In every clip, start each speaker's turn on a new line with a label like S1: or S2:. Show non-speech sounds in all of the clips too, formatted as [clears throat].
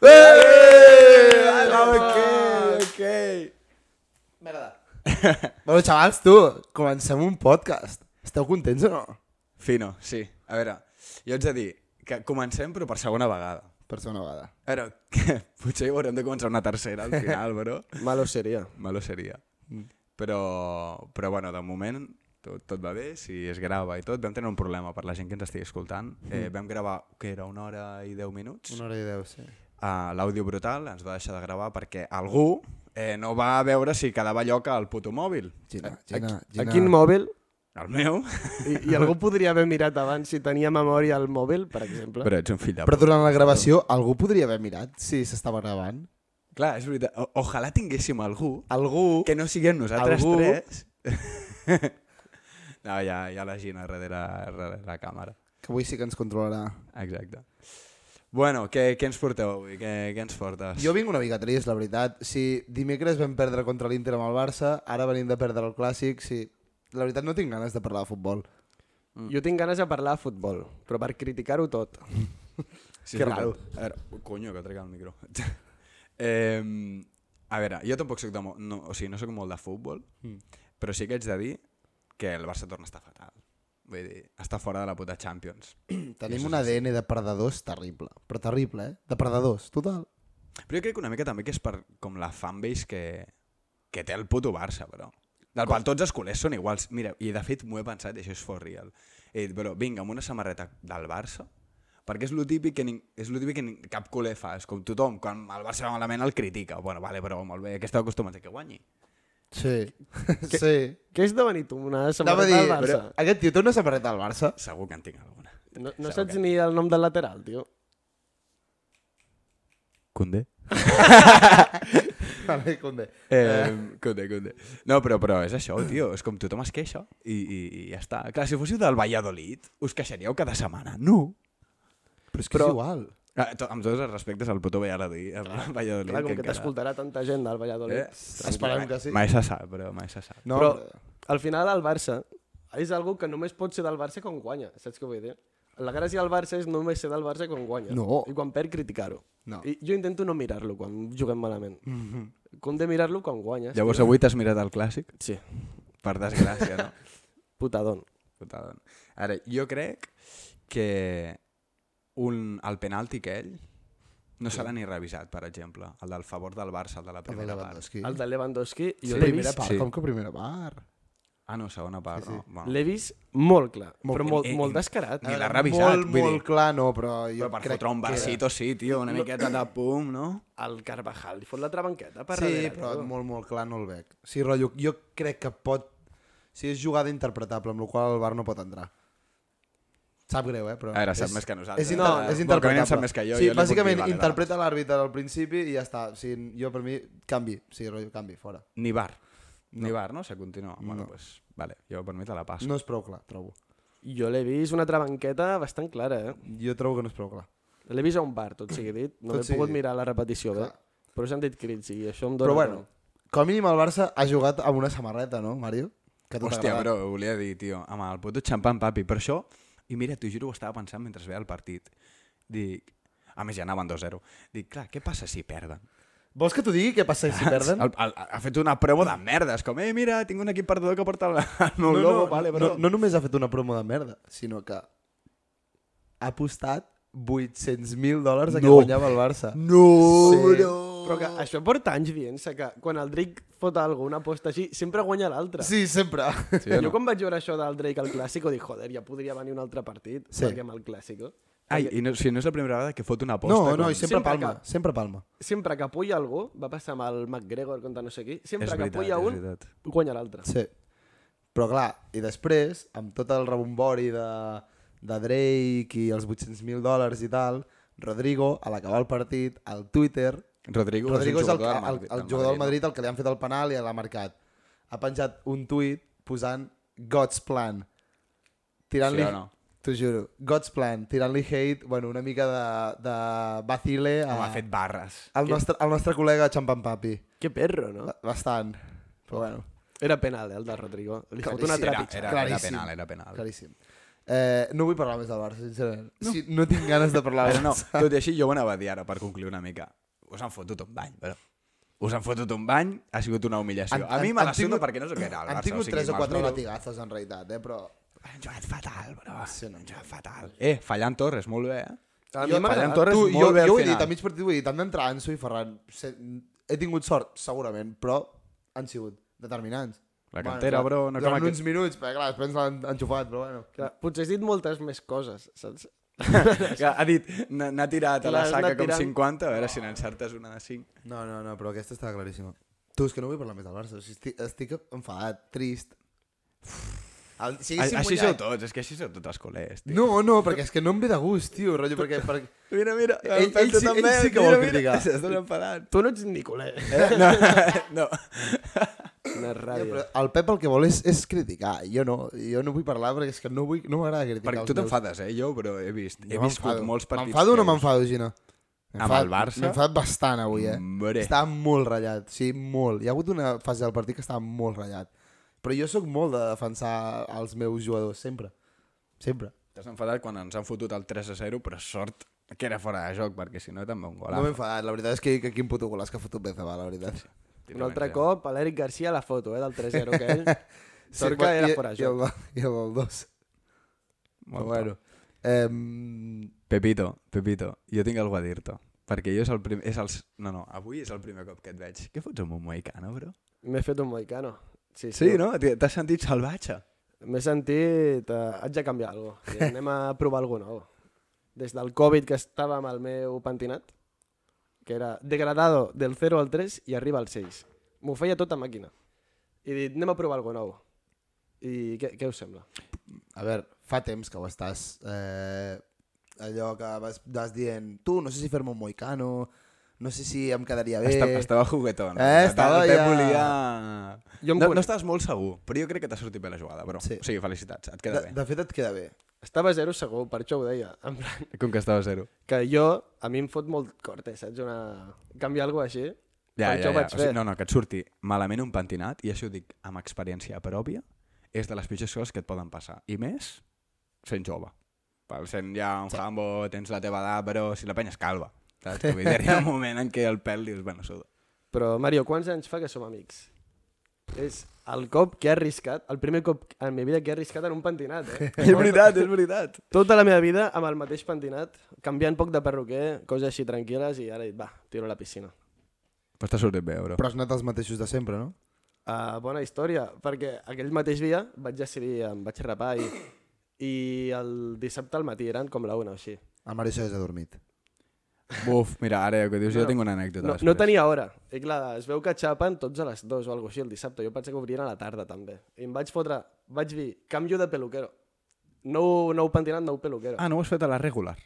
S1: [laughs] Bueno, xavals, tu, comencem un podcast. Esteu contents o no?
S2: Fino, sí. A veure, jo ets de dir que comencem però per segona vegada.
S1: Per segona vegada.
S2: A veure, [laughs] que potser hi haurem de començar una tercera al final, però
S3: Malo sería.
S2: malo seria. Però, però bueno, de moment tot, tot va bé, si es grava i tot. Vam tenir un problema per la gent que ens estigui escoltant. Eh, vam gravar, que era una hora i deu minuts.
S1: Una hora i deu, sí.
S2: Uh, L'àudio brutal ens va deixar de gravar perquè algú eh, no va veure si quedava lloc al puto mòbil.
S1: Gina,
S3: Aquí,
S1: Gina, Gina.
S3: aquí en mòbil,
S2: El meu.
S3: i, i algú podria haver mirat abans si tenia memòria al mòbil, per exemple.
S2: Però ets un fill de
S1: Però durant la gravació, algú podria haver mirat si s'estava gravant?
S2: Clar, és veritat. O Ojalà tinguéssim algú
S1: Algú...
S2: que no siguem nosaltres
S1: Algú-
S2: algú... tres. [laughs] no, ja, ja la Gina darrere, darrere la càmera.
S1: Que avui sí que ens controlarà.
S2: Exacte. Bueno, què, què ens porteu avui? Què, què ens portes?
S1: Jo vinc una mica trist, la veritat. Si dimecres vam perdre contra l'Inter amb el Barça, ara venim de perdre el Clàssic, sí... La veritat no tinc ganes de parlar de futbol. Mm.
S3: Jo tinc ganes de parlar de futbol, però per criticar-ho tot.
S2: Sí,
S3: Que
S2: és veritat.
S3: raro.
S2: A veure, ui, conyo, que trec el micro. [laughs] eh, a veure, jo tampoc soc de mo- no, o sigui, no soc molt de futbol, però sí que haig de dir que el Barça torna a estar fatal. Vull dir, està fora de la puta Champions.
S1: Tenim un ADN de perdedors terrible. Però terrible, eh? De perdedors, total.
S2: Però jo crec que una mica també que és per com la fanbase que, que té el puto Barça, però. Del pal, tots els culers són iguals. Mira, i de fet m'ho he pensat, i això és for real. He dit, però vinga, amb una samarreta del Barça, perquè és lo típic que, ning- és lo típic que ning- cap culer fa, és com tothom, quan el Barça va malament el critica. Bueno, vale, però molt bé, que esteu acostumats a que guanyi.
S1: Sí. [laughs] Sí.
S3: Què és de venir tu, una
S1: Anava a
S3: samarreta
S1: dir,
S3: del Barça?
S1: però aquest tio té una samarreta al Barça? [laughs]
S2: Segur que en tinc alguna.
S3: No, no
S2: Segur
S3: saps
S2: que-
S3: ni el nom del lateral, tio.
S2: Condé?
S1: Vale, Conde.
S2: Eh, Conde, Conde. No, però, però és això, tio. És com tothom es queixa i, i, i ja està. Clar, si fóssiu del Valladolid, us queixaríeu cada setmana. No.
S1: Però és que
S3: Però-
S1: és igual.
S2: Ah, to, amb tots els respectes al puto Valladolid. Al Valladolid
S3: Clar, com que
S2: encara-
S3: t'escoltarà tanta gent del Valladolid.
S2: Eh?
S1: Esperem que sí.
S2: Mai se sap, però mai se sap.
S1: No,
S3: però,
S1: però-
S3: al final el Barça és algo que només pot ser del Barça quan guanya, saps què vull dir? La gràcia del Barça és només ser del Barça quan guanya.
S1: No.
S3: I quan perd, criticar-ho.
S1: No. Mhm.
S3: I jo intento no mirar-lo quan juguem malament. Mm -hmm. Com de mirar-lo quan guanyes.
S2: Llavors avui t'has mirat el clàssic?
S3: Sí,
S2: Per desgràcia, no? [laughs]
S3: putadón.
S2: Putada. Ara, jo crec que un, el penalti aquell no serà ni revisat, per exemple. El del favor del Barça, el de la primera part.
S1: Lewandowski.
S3: El de Lewandowski, jo
S1: Sí,
S3: l'he
S1: primera
S3: vist,
S1: part,
S2: sí.
S1: com que primera part?
S2: Ah, no, segona part, no? Bueno.
S3: l'he vist molt clar,
S1: Molt-
S3: però molt,
S2: eh, eh,
S3: molt descarat.
S2: ni
S3: Eh,
S2: l'ha revisat,
S1: Molt,
S2: vull dir.
S1: molt clar, no, però jo
S2: Però per
S1: crec
S2: fotre un
S1: que era-
S2: versito sí, tio, una miqueta de pum, no?
S3: El Carvajal, li fot la trabanqueta per
S1: eh. Sí,
S3: darrere.
S1: però
S3: tio.
S1: molt, molt clar no el veig. Sí, rotllo, jo crec que pot... Si és jugada interpretable, amb la qual cosa el bar no pot entrar. Sap greu, eh? Però
S2: A veure, sap més que nosaltres. eh?
S1: És, inter-
S2: No,
S1: és
S2: com a
S1: interpretable.
S2: mínim sap més que jo,
S1: sí,
S2: jo li puc
S1: bàsicament,
S2: dir, vale,
S1: interpreta l'àrbitre al principi i ja està. O sigui, jo per mi, canvi. Sí, rotllo, canvi, fora.
S2: Ni bar. Ni bar, no? Se continua. Bueno, pues, vale, jo per mi te la passo.
S1: No és prou clar, trobo.
S3: Jo l'he vist una trabanqueta bastant clara, eh?
S1: Jo trobo que no és prou clar.
S3: L'he vist a un bar, tot sigui dit. No
S1: Tot
S3: he pogut
S1: sigui dit.
S3: mirar la repetició, bé. Però s'han dit crits i això em dona...
S1: Però bueno, com a mínim el Barça ha jugat amb una samarreta, no, Mario? Que a tu
S2: Hòstia,
S1: t'agrada.
S2: però ho volia dir, tio, amb el puto xampan, papi, però això... I mira, t'ho juro, ho estava pensant mentre veia el partit. Dic... A més, ja anaven 2-0. Dic, clar, què passa si perden?
S1: Vols que t'ho digui què passa si perden?
S2: [laughs] El, el, ha fet una promo de merda. És com, eh, mira, tinc un equip perdedor que porta el, el meu no, logo, no, vale, però...
S1: no, no només ha fet una promo de merda, sinó que ha apostat 800.000 dòlars a que
S2: No.
S1: guanyava el Barça.
S2: no,
S3: Però que això porta anys dient-se que quan el Drake fot alguna aposta així, sempre guanya l'altre.
S1: Sí, sempre.
S2: Sí,
S3: jo
S2: o no?
S3: quan vaig veure això del Drake al Clàssico, dic, joder, ja podria venir un altre partit,
S1: Sí.
S3: sí. perquè amb el Clàssico...
S2: Ai, i no, si no és la primera vegada que fot una aposta.
S1: No, no,
S2: com-
S1: i sempre
S3: Sempre
S1: palma,
S3: cap.
S1: sempre palma.
S3: Sempre que apuja algú, va passar amb el McGregor contra no sé qui, sempre
S2: És
S3: que
S2: veritat,
S3: apuja
S2: és
S3: un,
S2: veritat.
S3: guanya l'altre.
S1: Sí. Però clar, i després, amb tot el rebombori de, de Drake i els 800.000 dòlars i tal, Rodrigo, a l'acabar el partit, al Twitter,
S2: Rodrigo,
S1: Rodrigo és el,
S2: jugador del
S1: el, el, el jugador del Madrid el que li han fet el penal i l'ha marcat. Ha penjat un tuit posant God's plan. Tirant-li...
S2: Sí o no?
S1: T'ho juro. God's plan. Tirant-li hate, bueno, una mica de, de vacile
S2: No? Home,
S1: a,
S2: ha fet barres.
S1: al, nostre, al nostre col·lega Champan Papi.
S3: Que perro, no?
S1: Ba- Bastant. Però bueno,
S3: Ah. Era penal, eh, el de Rodrigo. Li fot
S1: Claríssim.
S3: una
S2: Era,
S3: trepitja.
S2: era, era
S1: Claríssim.
S2: penal, era penal.
S1: claríssim. Eh, no vull parlar més del Barça, sincerament. No, sí, no tinc ganes de parlar
S2: Però
S1: del
S2: no,
S1: Barça.
S2: tot i així jo ho anava a dir ara per concluir una mica. Us han fotut un bany, però... us han fotut un bany, ha sigut una humiliació.
S1: Han-
S2: a mi
S1: han-
S2: me
S1: han
S2: la suda
S1: tingut-
S2: perquè no sé què era el Barça.
S1: Han tingut
S2: o sigui,
S1: tres o
S2: me'ls
S1: quatre
S2: miro.
S1: latigazos, en realitat, eh? però...
S2: Han jugat fatal, bro.
S1: Sí, no.
S2: Han jugat fatal. Eh, fallant Torres, molt bé, eh?
S3: A mi
S1: Jo-
S3: m'ha
S2: Ferran
S3: agradat.
S2: Torres
S1: tu,
S2: molt
S1: jo,
S2: bé al
S1: jo ho he
S2: final.
S1: dit, a mig partit ho he dit, han d'entrar Anso i Ferran. Se, he tingut sort, segurament, però han sigut determinants.
S2: La cantera,
S1: clar,
S2: bro, no
S1: durant
S2: cal que-
S1: uns minuts, perquè clar, després l'han enxufat, però bueno.
S3: Clar, potser has dit moltes més coses, saps?
S2: Que ha dit, n'ha n'ha tirat a la
S3: L'has anat
S2: saca com
S3: tirant.
S2: 50, a veure si n'encertes una de 5.
S1: No, no, no, però aquesta estava claríssima. Tu, és que no vull parlar més del Barça, o sigui, estic, estic enfadat, trist. El, si haguéssim
S2: Així
S1: guanyat-
S2: sou tots, és que així sou tots els colers, tio.
S1: No, no, perquè és que no em ve de gust, tio, rotllo, perquè... perquè...
S2: Mira, mira,
S1: Ell-
S2: el Pelto
S1: ell sí- ell
S2: també,
S1: sí que
S2: mira,
S1: vol
S2: mira, [laughs]
S1: criticar.
S2: S'estan enfadant.
S3: [laughs] Tu no ets Nicolè.
S2: No, [laughs] no.
S3: Eh? Una
S1: Ja,
S3: ràbia.
S1: però el Pep el que vol és, és criticar, jo no, jo no vull parlar perquè és que no, vull, no m'agrada criticar
S2: Perquè
S1: els
S2: tu
S1: meus.
S2: t'enfades, eh? Jo, però he vist, he
S1: Jo
S2: viscut
S1: m'enfado.
S2: molts partits.
S1: M'enfado o no
S2: teus.
S1: m'enfado, Gina?
S2: Amb
S1: M'enfado-
S2: el Barça?
S1: M'he enfadat bastant avui, eh?
S2: Hombre.
S1: Estava molt ratllat, sí, molt. Hi ha hagut una fase del partit que estava molt ratllat. Però jo sóc molt de defensar els meus jugadors, sempre. Sempre.
S2: T'has enfadat quan ens han fotut el 3 a 0, però sort que era fora de joc, perquè si no també un
S1: No m'he
S2: golazo.
S1: enfadat, la veritat és que, que quin puto golàs que ha fotut Benzema, la veritat. Sí,
S3: Un altre cop, a l'Eric Garcia a la foto, eh, del 3-0 que ell. Sort que
S1: quan-
S3: era
S1: i-
S3: fora de
S1: I el,
S3: joc.
S1: do- i el del 2. Però bueno. Eh,
S2: Pepito, Pepito, jo tinc alguna a dir-te. Perquè jo és el primer... És els... No, no, avui és el primer cop que et veig. Què fots amb un moicano, bro?
S3: M'he fet un moicano. Sí, sí.
S2: Sí, no? T'has sentit salvatge?
S3: M'he sentit... Eh, haig de canviar alguna cosa. Anem a provar alguna cosa nou. Des del Covid que estava amb el meu pentinat, que era degradado del 0 al 3 i arriba al 6. M'ho feia tota màquina. I he dit, anem a provar alguna cosa nou. I què, què us sembla?
S1: A veure, fa temps que ho estàs... Eh, allò que vas, vas dient, tu, no sé si fer-me un moicano, no sé si em quedaria bé...
S2: Estava, estava juguetón.
S1: Eh, estava
S2: el Pep
S1: ja-
S2: volia...
S3: Jo em
S2: no,
S3: conec.
S2: no estaves molt segur, però jo crec que t'ha sortit bé la jugada, bro.
S1: Sí.
S2: O sigui, felicitats, et
S1: de,
S2: queda bé.
S1: de fet, et queda bé.
S3: Estava zero segur, per això ho deia. [laughs] En plan,
S2: Com que estava a zero.
S3: que jo, a mi em fot molt corte, saps? Una... Canviar alguna cosa així.
S2: Ja,
S3: per
S2: ja,
S3: això ho
S2: ja.
S3: vaig
S2: O sigui,
S3: fer.
S2: no, no, que et surti malament un pentinat, i això ho dic amb experiència pròpia, és de les pitjors coses que et poden passar. I més, sent jove. Pel sent ja un sí. jambo, tens la teva edat, però si la penya és calva.
S3: [laughs]
S2: Saps? Vull dir, hi ha un moment en què el pèl dius, bueno, suda.
S3: Però, Mario, quants anys fa que som amics? És el cop que he arriscat, el primer cop en la meva vida que he arriscat en un pentinat, eh?
S2: [laughs] És veritat, és veritat.
S3: Tota la meva vida amb el mateix pentinat, canviant poc de perruquer, coses així tranquil·les, i ara he dit, va, tiro a la piscina.
S2: Però t'ha sortit bé, bro.
S1: Però has anat els mateixos de sempre, no?
S3: Uh, bona història, perquè aquell mateix dia vaig decidir, em vaig rapar i, i el dissabte al matí eren com la una o així.
S1: El Mario s'ha dormit.
S2: Buf, mira, ara que dius, jo
S3: No,
S2: tinc una anècdota
S3: No,
S2: després.
S3: no tenia hora. I clar, es veu que xapen tots a les dues o alguna així el dissabte. Jo pensava que obrien a la tarda també. I em vaig fotre, vaig dir, canvio de peluquero. Nou, nou pentinat, nou peluquero.
S2: Ah, no ho has fet a la regular?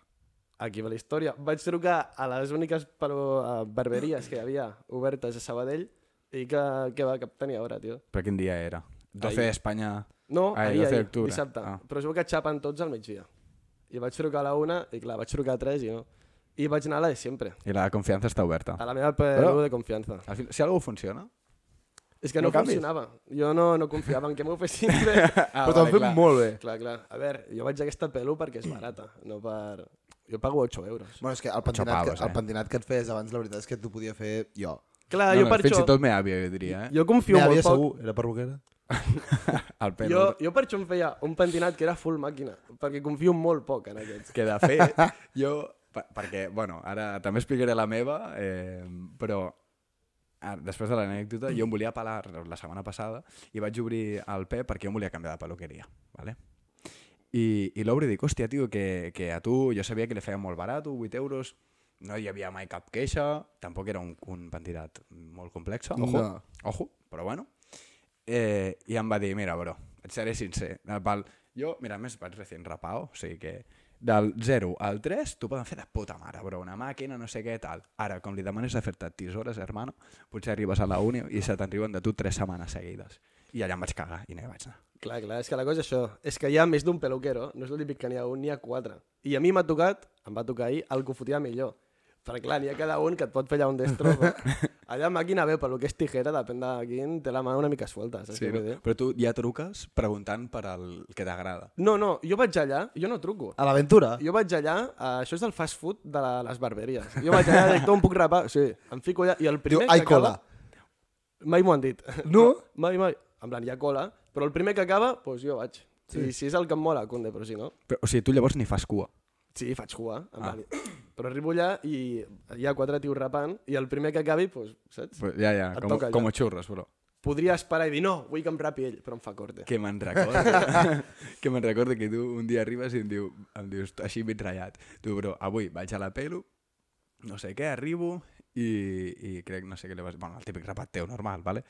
S3: Aquí va la història. Vaig trucar a les úniques però, a barberies que hi havia obertes a Sabadell i que, que va, que tenia hora, tio.
S2: Però quin dia era? 12 d'Espanya...
S3: No,
S2: Ah,
S3: ahir,
S2: 12
S3: ahir,
S2: d'octubre.
S3: dissabte.
S2: Ah.
S3: Ah. Però es veu que xapen tots al migdia. I vaig trucar a la una, i clar, vaig trucar a tres i no. I vaig anar a la de sempre,
S2: I la confiança està oberta.
S3: a la meva perú
S2: Però-
S3: de confiança.
S2: Al final, si alguna cosa funciona...
S3: És que
S2: No
S3: no,
S2: canvis?
S3: funcionava. Jo no, no confiava en que m'ho
S2: [laughs]
S3: fessin bé.
S2: Ah,
S1: Però t'ho han fet
S2: clar.
S1: molt bé.
S3: clar, clar. A veure, jo vaig a aquesta pelu perquè és barata, no per... Jo pago 8 euros.
S1: Bueno, és que el pentinat,
S2: pavos,
S1: que,
S2: eh?
S1: el pentinat que et feies abans, la veritat és que t'ho podia fer jo.
S3: Clar,
S2: no,
S3: Ah, jo
S2: no,
S3: per
S2: fins
S3: això...
S2: i tot me àvia, jo diria, eh?
S3: Jo confio
S1: Mira, havia
S3: molt poc.
S1: segur, era perruquera.
S2: El pèl.
S3: Jo, jo per això em feia un pentinat que era full màquina, perquè confio molt poc en aquests.
S2: Que de fet, jo... per- Perquè, bueno, ara també explicaré la meva, eh, però ara, després de l'anècdota, jo em volia pelar la setmana passada i vaig obrir el Pep perquè jo em volia canviar de peluqueria, ¿vale? I, i l'obro i dic, hòstia, tio, que, que a tu jo sabia que li feia molt barat, 8 euros, no hi havia mai cap queixa, tampoc era un, un pentinat molt complex, ojo,
S1: No.
S2: ojo, però bueno. Eh, I em va dir, mira, bro, et seré sincer. Pal, jo, mira, a més vaig recient rapao, o sigui que del 0 al 3 t'ho poden fer de puta mare, bro, una màquina, no sé què, tal. Ara, com li demanes de fer-te tisores, hermano, potser arribes a la uni i se t'enriuen de tu tres setmanes seguides. I allà em vaig cagar i no hi vaig anar.
S3: Clar, clar, és que la cosa és això. És que hi ha més d'un peluquero, no és el típic que n'hi ha un, n'hi ha quatre. I a mi m'ha tocat, em va tocar ahir, el que ho fotia millor. Perquè clar, n'hi ha cada un que et pot fer allà un
S1: [laughs]
S3: destrozo. Allà màquina bé, pel que és tijera, depèn de quin, té la mà una mica suelta, saps
S2: Sí,
S3: què
S2: no?
S3: vull dir?
S2: Però tu ja truques preguntant per al que t'agrada.
S3: No, no, jo vaig allà, jo no truco.
S1: A l'aventura?
S3: Jo vaig allà, eh, això és [laughs] del fast food de la, les barberies. Jo vaig allà, dic, on puc rapar? Sí, em fico allà, i el
S1: Diu,
S3: primer
S1: ai,
S3: que
S1: cola.
S3: acaba...
S2: [laughs]
S3: Mai m'ho han dit.
S1: No?
S3: Mai, mai. En plan, hi ha cola, però el primer que acaba, doncs jo vaig. Sí. I si és el que em mola, Conde, però si no...
S2: Però, o sigui, tu llavors ni fas cua.
S3: Sí, faig cua. En plan, Però arribo allà i hi ha quatre tios rapant i el primer que acabi, doncs, saps?
S2: Però Ja, ja,
S3: Et
S2: com,
S3: toca allò.
S2: com xurros, bro.
S3: Podria esperar i dir, no, vull que em rapi ell, però em fa corte.
S2: Que me'n recordo. que me'n recordo que tu un dia arribes i em, diu, em dius així mig ratllat. Tu, bro, avui vaig a la pelo, no sé què, arribo i, i crec, no sé què li vas... Bueno, el típic rapat teu, normal, vale?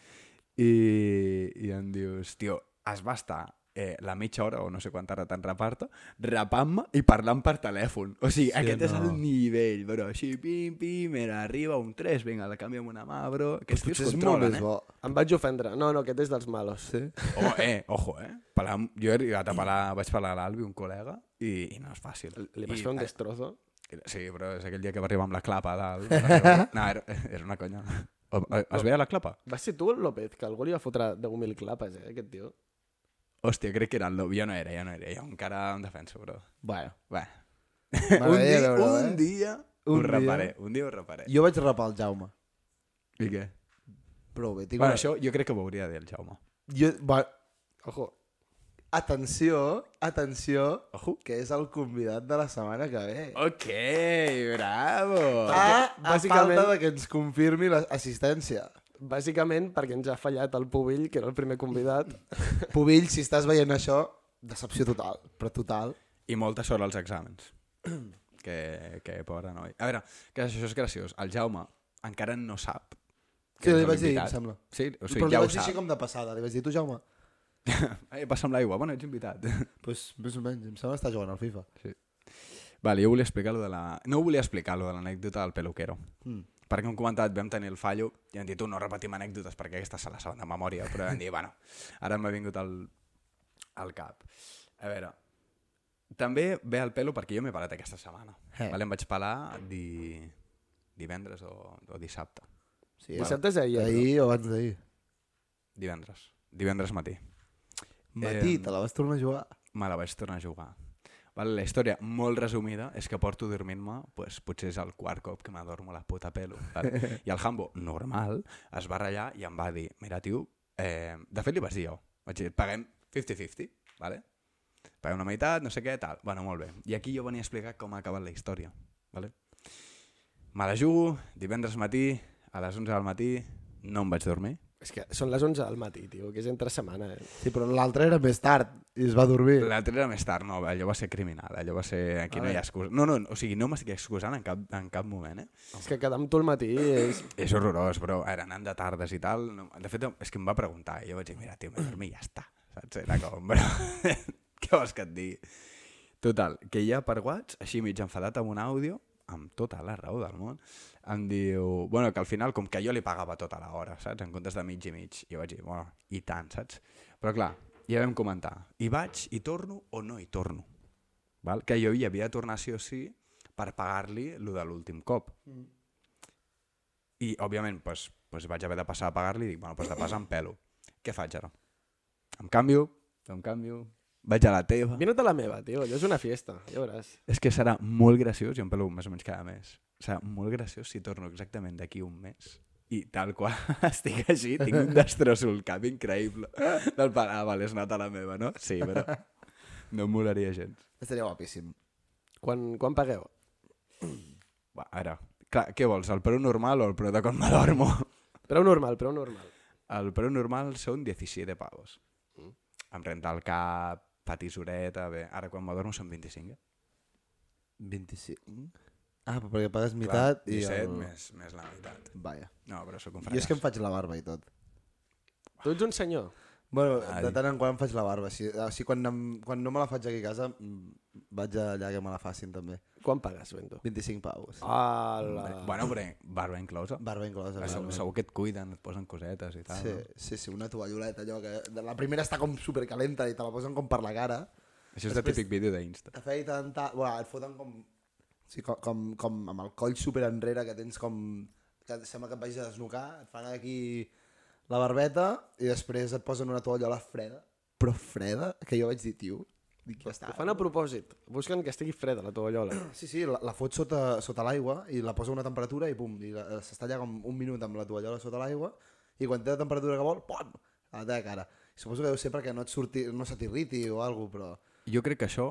S2: I, i em dius, tio, es va estar eh, la mitja hora o no sé quant tarda tant rapar-te, rapant-me i parlant per telèfon. O sigui, sí, aquest no. és el nivell, bro. Així, pim, pim, era, arriba un 3, vinga, la canviem una mà, bro. Aquests pues
S1: Potser
S2: tios
S1: és molt
S2: controlen,
S1: més
S2: eh?
S1: bo.
S3: Em vaig ofendre. No, no, aquest és dels malos.
S1: Sí.
S2: Oh, eh, ojo, eh. Pelar, amb- jo he arribat a pelar, vaig pelar a l'Albi, un col·lega, i, i no és fàcil.
S3: Li vas
S2: I-
S3: fer un destrozo.
S2: eh, Sí, però és aquell dia que va arribar amb la clapa a dalt.
S1: [laughs]
S2: No, era, era una conya. O- o- Es veia la clapa?
S3: Va ser tu el López, que algú li va fotre 10.000 clapes, eh, aquest tio.
S2: Hòstia, crec que era el Lobi. Jo no era, jo no era. Jo encara em defenso, però...
S1: Bueno.
S2: Bé. Un
S1: [laughs] M'agradaria
S2: dia,
S1: veure-ho, eh?
S2: un dia
S1: Un
S2: un ho
S1: dia.
S2: reparé. Un dia ho reparé.
S1: Jo vaig rapar el Jaume.
S2: I què?
S1: Prou bé. Tinc bueno, una...
S2: Bueno, això jo crec que ho hauria de dir el Jaume.
S1: jo... Va...
S3: Ojo,
S1: Atenció, atenció,
S2: Ojo.
S1: que és el convidat de la setmana que ve.
S2: Ok, bravo.
S1: Ah, a
S3: bàsicament-
S1: falta de que ens confirmi l'assistència.
S3: Bàsicament perquè ens ha fallat el Pubill, que era el primer convidat.
S1: Pubill, si estàs veient això, decepció total, però total.
S2: I molta sort als exàmens. [clears throat] que, que pobre noi. A veure, que això és graciós. El Jaume encara no sap
S1: Sí,
S2: ens
S1: li
S2: han
S1: vaig dir,
S2: invitat.
S1: em sembla.
S2: Sí, o sigui,
S1: però li
S2: ja ho
S1: vaig dir
S2: sap.
S1: així
S2: Com...
S1: com de passada, li vaig dir, tu Jaume,
S2: Eh, passa amb l'aigua. Bueno, ets invitat. [laughs]
S1: pues, més o menys, em sembla que està jugant al FIFA.
S2: vale, jo volia explicar lo de la... No volia explicar lo de l'anècdota del peluquero.
S1: Mm.
S2: Perquè hem comentat, vam tenir el fallo i hem dit, tu no repetim anècdotes perquè aquestes se les saben de memòria, però vam dir, bueno, ara m'ha vingut al, al cap. A veure, també ve al pelo perquè jo m'he parat aquesta setmana.
S1: Eh.
S2: Vale, em vaig pelar di... divendres o, o dissabte.
S1: Sí,
S3: I Dissabtes ahir.
S1: ahir,
S3: Ahir.
S1: ahir o abans d'ahir.
S2: Divendres. Divendres matí.
S1: Matí,
S2: Em,
S1: te la vas tornar a jugar.
S2: me la vaig tornar a jugar. Vale, la història, molt resumida, és que porto dormint-me, pues, potser és el quart cop que m'adormo la puta pelo. Vale? I el Hambo, normal, es va ratllar i em va dir, mira, tio, eh... de fet li vaig dir jo, vaig dir, paguem 50-50, vale? paguem una meitat, no sé què, tal. Bueno, molt bé. I aquí jo venia a explicar com ha acabat la història. Vale? Me la jugo, divendres matí, a les 11 del matí, no em vaig dormir,
S3: És que són les 11 del matí, tio, que és entre setmana. Eh?
S1: Sí, però l'altre era més tard i es va dormir.
S2: L'altre era més tard, no, allò va ser criminal, allò va ser... Aquí
S1: A
S2: no hi
S1: veure.
S2: ha excusa. No, no, o sigui, no m'estic excusant en cap, en cap moment, eh?
S3: És que quedar amb tu al matí és...
S2: És horrorós, però era anant de tardes i tal. No, de fet, és que em va preguntar, i jo vaig dir, mira, tio, m'he dormit i ja està. Saps? Era com, però... [laughs] Què vols que et digui? Total, que ja per Watts, així mig enfadat amb un àudio, amb tota la raó del món, em diu... Bueno, que al final, com que jo li pagava tota l'hora, saps? En comptes de mig i mig. I jo vaig dir, bueno, i tant, saps? Però clar, ja vam comentar. Hi vaig, hi torno o no hi torno? Val? Que jo hi havia de tornar sí o sí per pagar-li lo de l'últim cop. I, òbviament, pues, pues vaig haver de passar a pagar-li i dic, bueno, pues de pas em pelo. Què faig ara? Em canvio, no em canvio, vaig a la teva.
S3: Vine't a la meva, tio, allò és una fiesta, ja veuràs.
S2: És que serà molt graciós, jo em pelo més o menys cada mes, serà molt graciós si torno exactament d'aquí un mes i tal qual [laughs] estic així, tinc un destrosso al cap increïble. Del pare, ah, vale, has anat a la meva, no? Sí, però [laughs] no em molaria gens.
S1: Estaria guapíssim.
S3: Quan, quan pagueu?
S2: Va, ara, clar, què vols, el preu normal o el preu de quan m'adormo?
S3: Preu normal, preu normal.
S2: El preu normal són 17 pavos.
S1: Mm.
S2: Em renta el cap, fa tisoreta, bé, ara quan m'adormo són 25, eh?
S1: 25. Ah, però perquè pagues meitat
S2: Clar,
S1: i...
S2: 17
S1: el-
S2: més, més la meitat.
S1: Vaja.
S2: No, però sóc un
S1: Jo
S2: fracàs.
S1: és que em faig la barba i tot.
S3: Tu ets un senyor.
S1: Bueno,
S2: Ai.
S1: de tant en quant em faig la barba. Així, així quan, em, quan no me la faig aquí a casa, mm, vaig allà que me la facin també.
S3: Quan pagues, Bento?
S1: 25 paus.
S3: Hola.
S2: Bueno, però barba inclosa.
S1: Barba inclosa.
S2: Ah,
S1: barba.
S2: Segur, segur que et cuiden, et posen cosetes i tal.
S1: Sí, sí, sí, una tovalloleta allò que de la primera està com supercalenta i te la posen com per la cara.
S2: No? Això és de típic vídeo d'Insta.
S1: T'afeiten, ta... Buah, et foten com... Sí, com, com, com amb el coll super enrere que tens com... Que sembla que et vagis a desnucar, et fan aquí la barbeta i després et posen una tovallola freda, però freda, que jo vaig dir, tio, dic, ja està.
S3: Ho fan a propòsit. Busquen que estigui freda la tovallola.
S1: Sí, sí, la, la fot sota, sota l'aigua i la posa a una temperatura i pum, i la- s'està allà com un minut amb la tovallola sota l'aigua I quan té la temperatura que vol, pom, a la teva cara. I suposo que deu ser perquè no, et surti, no se t'irriti o alguna però...
S2: Jo crec que això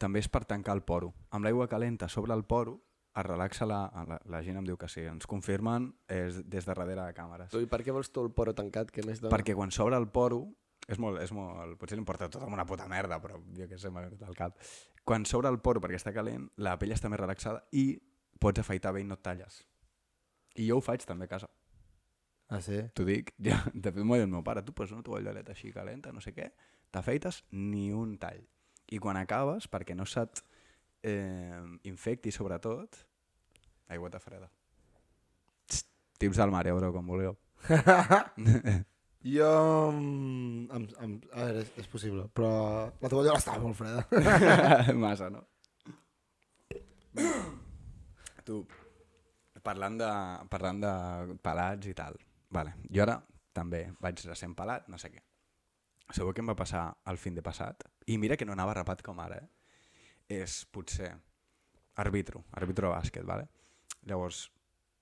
S2: també és per tancar el poro. Amb l'aigua calenta sobre el poro es relaxa la, la, la gent em diu que sí, ens confirmen és des de darrere de càmeres.
S3: Tu, I per què vols tu el poro tancat? Que més de...
S2: Perquè quan s'obre el poro, és molt, és molt, potser li importa tot amb una puta merda, però jo què sé, m'ha vingut al cap. Quan s'obre el poro perquè està calent, la pell està més relaxada i pots afaitar bé i no et talles. I jo ho faig també a casa.
S1: Ah, sí?
S2: T'ho dic, [laughs] ja, de fet m'ho ha dit el meu pare, tu poses una tovallolet així calenta, no sé què, t'afeites ni un tall. I quan acabes, perquè no se't eh, infecti sobretot, aigua de freda. Txt, tips del mare, bro, com vulgueu.
S1: Jo... mm, Em, em, a veure, és, és possible, però la tovallola estava molt freda.
S2: [laughs] Massa, no? tu, parlant de, parlant de pelats i tal, vale. jo ara també vaig recent pelat, no sé què. Sabeu què em va passar el fin de passat? I mira que no anava rapat com ara, eh? És potser àrbitro, àrbitro de bàsquet, vale? Llavors,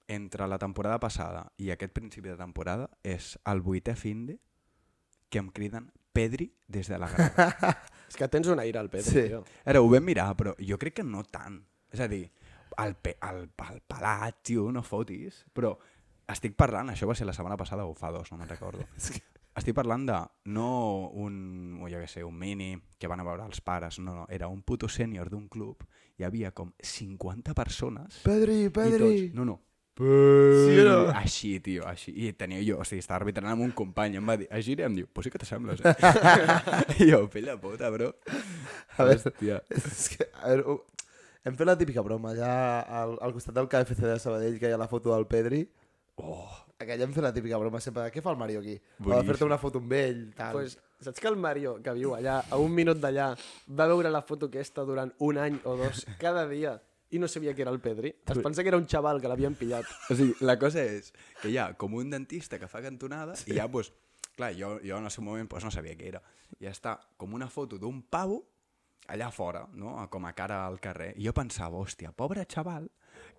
S2: entre la temporada passada i aquest principi de temporada és el vuitè fin de que em criden Pedri des de la grada.
S3: És que tens un aire al Pedro,
S1: Sí.
S3: sí. tio.
S2: Ara, ho vam mirar, però jo crec que no tant. És a dir, el, pe el, el pelat, tio, no fotis. Però estic parlant, això va ser la setmana passada o fa dos, no me'n recordo.
S1: [laughs]
S2: Estic parlant de no un, o jo què sé, un mini que van a veure els pares, no, no, era un puto sènior d'un club, hi havia com 50 persones
S1: Pedri,
S2: i
S1: Pedri!
S2: tots, no, no,
S1: Sí o no?
S2: així, tio, així. I tenia jo, o sigui, estava arbitrant amb un company, em va dir, així em diu, pues sí [laughs] que
S1: [laughs]
S2: t'assembles, eh? I jo, pell de puta, bro.
S1: A veure,
S2: Hòstia.
S1: [laughs] És que, a veure, ho- hem fet la típica broma allà al, al costat del KFC de Sabadell que hi ha la foto del Pedri.
S2: Oh,
S1: Aquella hem fet la típica broma sempre. de, Què fa el Mario aquí? O de
S2: Boníssim.
S1: fer-te una foto amb ell, tal.
S3: Pues, saps que el Mario, que viu allà, a un minut d'allà, va veure la foto aquesta durant un any o dos, cada dia, i no sabia que era el Pedri? Es pensa que era un xaval que l'havien pillat.
S2: O sigui, la cosa és que hi ha com un dentista que fa cantonada sí. i ja, doncs, clar, jo, jo en el seu moment doncs, no sabia què era. I està com una foto d'un pavo allà fora, no? Ah, com a cara al carrer. I jo pensava, hòstia, pobre xaval,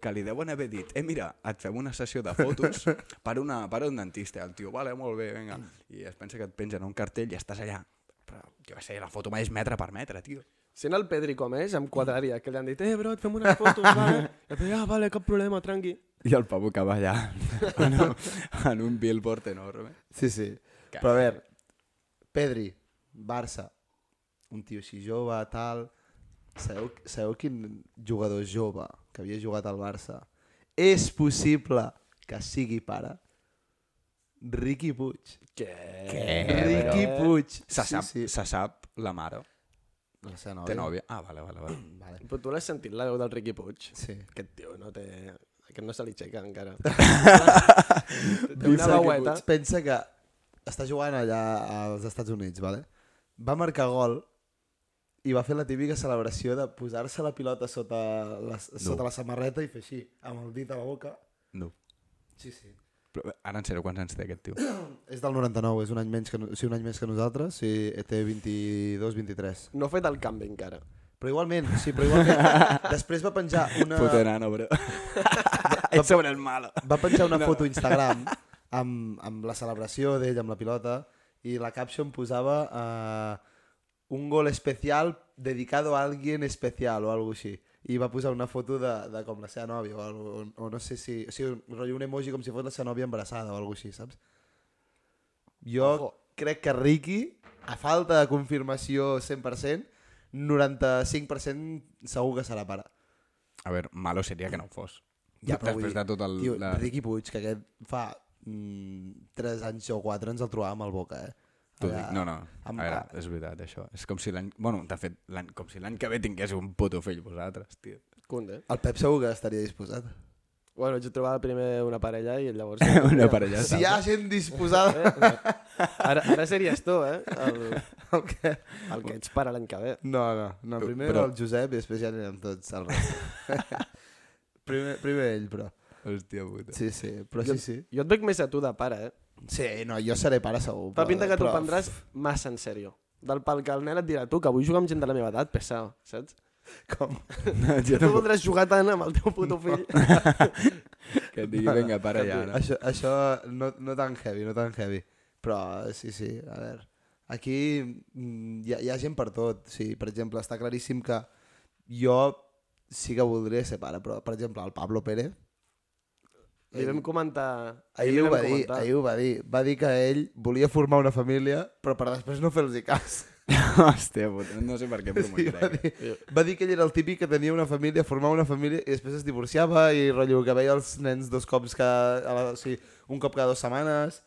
S2: que li deuen haver dit, eh, mira, et fem una sessió de fotos per, una, per un dentista. El tio, vale, molt bé, vinga. I es pensa que et pengen un cartell i estàs allà. Però, jo què sé, la foto mai és metre per metre, tio.
S3: Sent el Pedri com és, em quadraria, que li han dit, eh, bro, et fem unes
S2: [laughs]
S3: fotos, vale? I el Pedri, ah, vale, cap problema, tranqui.
S2: I el pavo que va allà [laughs] en un, en un billboard enorme.
S1: Sí, sí.
S2: Que-
S1: Però a veure, Pedri, Barça, un tio així jove, tal... Sabeu, sabeu quin jugador jove que havia jugat al Barça és possible que sigui pare? Riqui Puig.
S3: Què?
S2: Què,
S1: Riqui Puig.
S2: Se sap,
S1: Sí, sí.
S2: se sap la mare.
S1: La seva
S2: Té
S1: nòvia.
S2: nòvia. Ah, vale, vale, vale.
S1: Vale.
S3: Però tu l'has sentit, la veu del Riqui Puig?
S1: Sí.
S3: Aquest tio no té... Aquest no se li aixeca
S2: [laughs]
S3: encara. té una
S1: Pensa que-
S3: veueta.
S1: Pensa que està jugant allà als Estats Units, vale? va marcar gol i va fer la típica celebració de posar-se la pilota sota la, sota la samarreta i fer així, amb el dit a la boca.
S2: No.
S1: Sí, sí.
S2: Però, ara en sèrio, quants anys té aquest [clears throat] tio?
S1: És del 99, és un any menys que, no- sí, un any més que nosaltres, sí, té 22, 23.
S3: No ha fet el canvi encara.
S1: Però igualment, sí, però igualment. després va penjar una...
S2: Puta nano, [laughs] bro. Ets sobre el malo.
S1: va penjar una foto a Instagram amb, amb la celebració d'ell amb la pilota i la caption posava eh, un gol especial dedicado a alguien especial o alguna així i va posar una foto de, de com la seva nòvia o, algo- o, o no sé si... O sigui, un, rotllo, un emoji com si fos la seva nòvia embarassada o alguna així, saps? Jo
S3: Ojo.
S1: crec que Ricky, a falta de confirmació 100%, 95% segur que serà pare.
S2: A veure, malo seria que no ho fos.
S1: Ja, però vull
S2: Després de
S1: dir,
S2: tot el...
S1: Tio,
S2: la...
S1: la... Riqui Puig, que aquest fa mm, 3 anys o 4 ens el trobàvem al Boca, eh?
S2: T'ho
S1: Allà,
S2: dic, no, no. A
S1: Amb,
S2: veure, és veritat, això. És com si l'any... Bueno, de fet, l'any- com si l'any que ve tingués un puto fill vosaltres, tio.
S3: Cunde.
S2: Ah.
S1: El Pep segur que estaria disposat.
S3: Bueno, jo trobava primer una parella i
S2: [laughs]
S3: llavors... Eh,
S2: Una
S1: Ja
S2: parella.
S1: si
S2: Sí,
S1: hi ha gent
S2: [laughs]
S1: disposada...
S3: Ara, ara series tu, eh? El,
S1: el que...
S3: el que ets pare l'any que ve.
S1: No, no, no. Primer
S2: Però-
S1: però... el Josep i després ja anirem tots al rest.
S2: [laughs]
S1: primer, primer ell, però.
S2: Hòstia [laughs] puta.
S1: Sí, sí, però sí, sí.
S3: Jo et veig més a tu de pare, eh?
S1: Sí, no, jo seré pare segur.
S3: Fa
S1: però-
S3: pinta que t'ho
S1: però-
S3: prendràs massa en sèrio. Del pal que el nen et dirà tu, que vull jugar amb gent de la meva edat, pesao, saps?
S1: Com?
S2: Jo
S3: Tu voldràs jugar tant amb el teu puto fill.
S2: Que et digui, vinga, para ja. No?
S1: Això, això no, no tan heavy, no tan heavy. Però sí, sí, a veure. Aquí mm, hi ha, hi ha gent per tot. Sí, per exemple, està claríssim que jo sí que voldria ser pare, però, per exemple, el Pablo Pérez,
S3: [laughs] Li vam comentar... li
S1: ahir ho
S3: vam
S1: va dir,
S3: comentar.
S1: ahir ho va dir. Va dir que ell volia formar una família, però per després no fer-los cas.
S2: [laughs] Hòstia, puta, no sé per [laughs] què eh.
S1: Sí,
S2: promocionar.
S1: va, dir, va dir que ell era el típic que tenia una família, formava una família i després es divorciava i rotllo que veia els nens dos cops cada, a la, o sigui, un cop cada dues setmanes.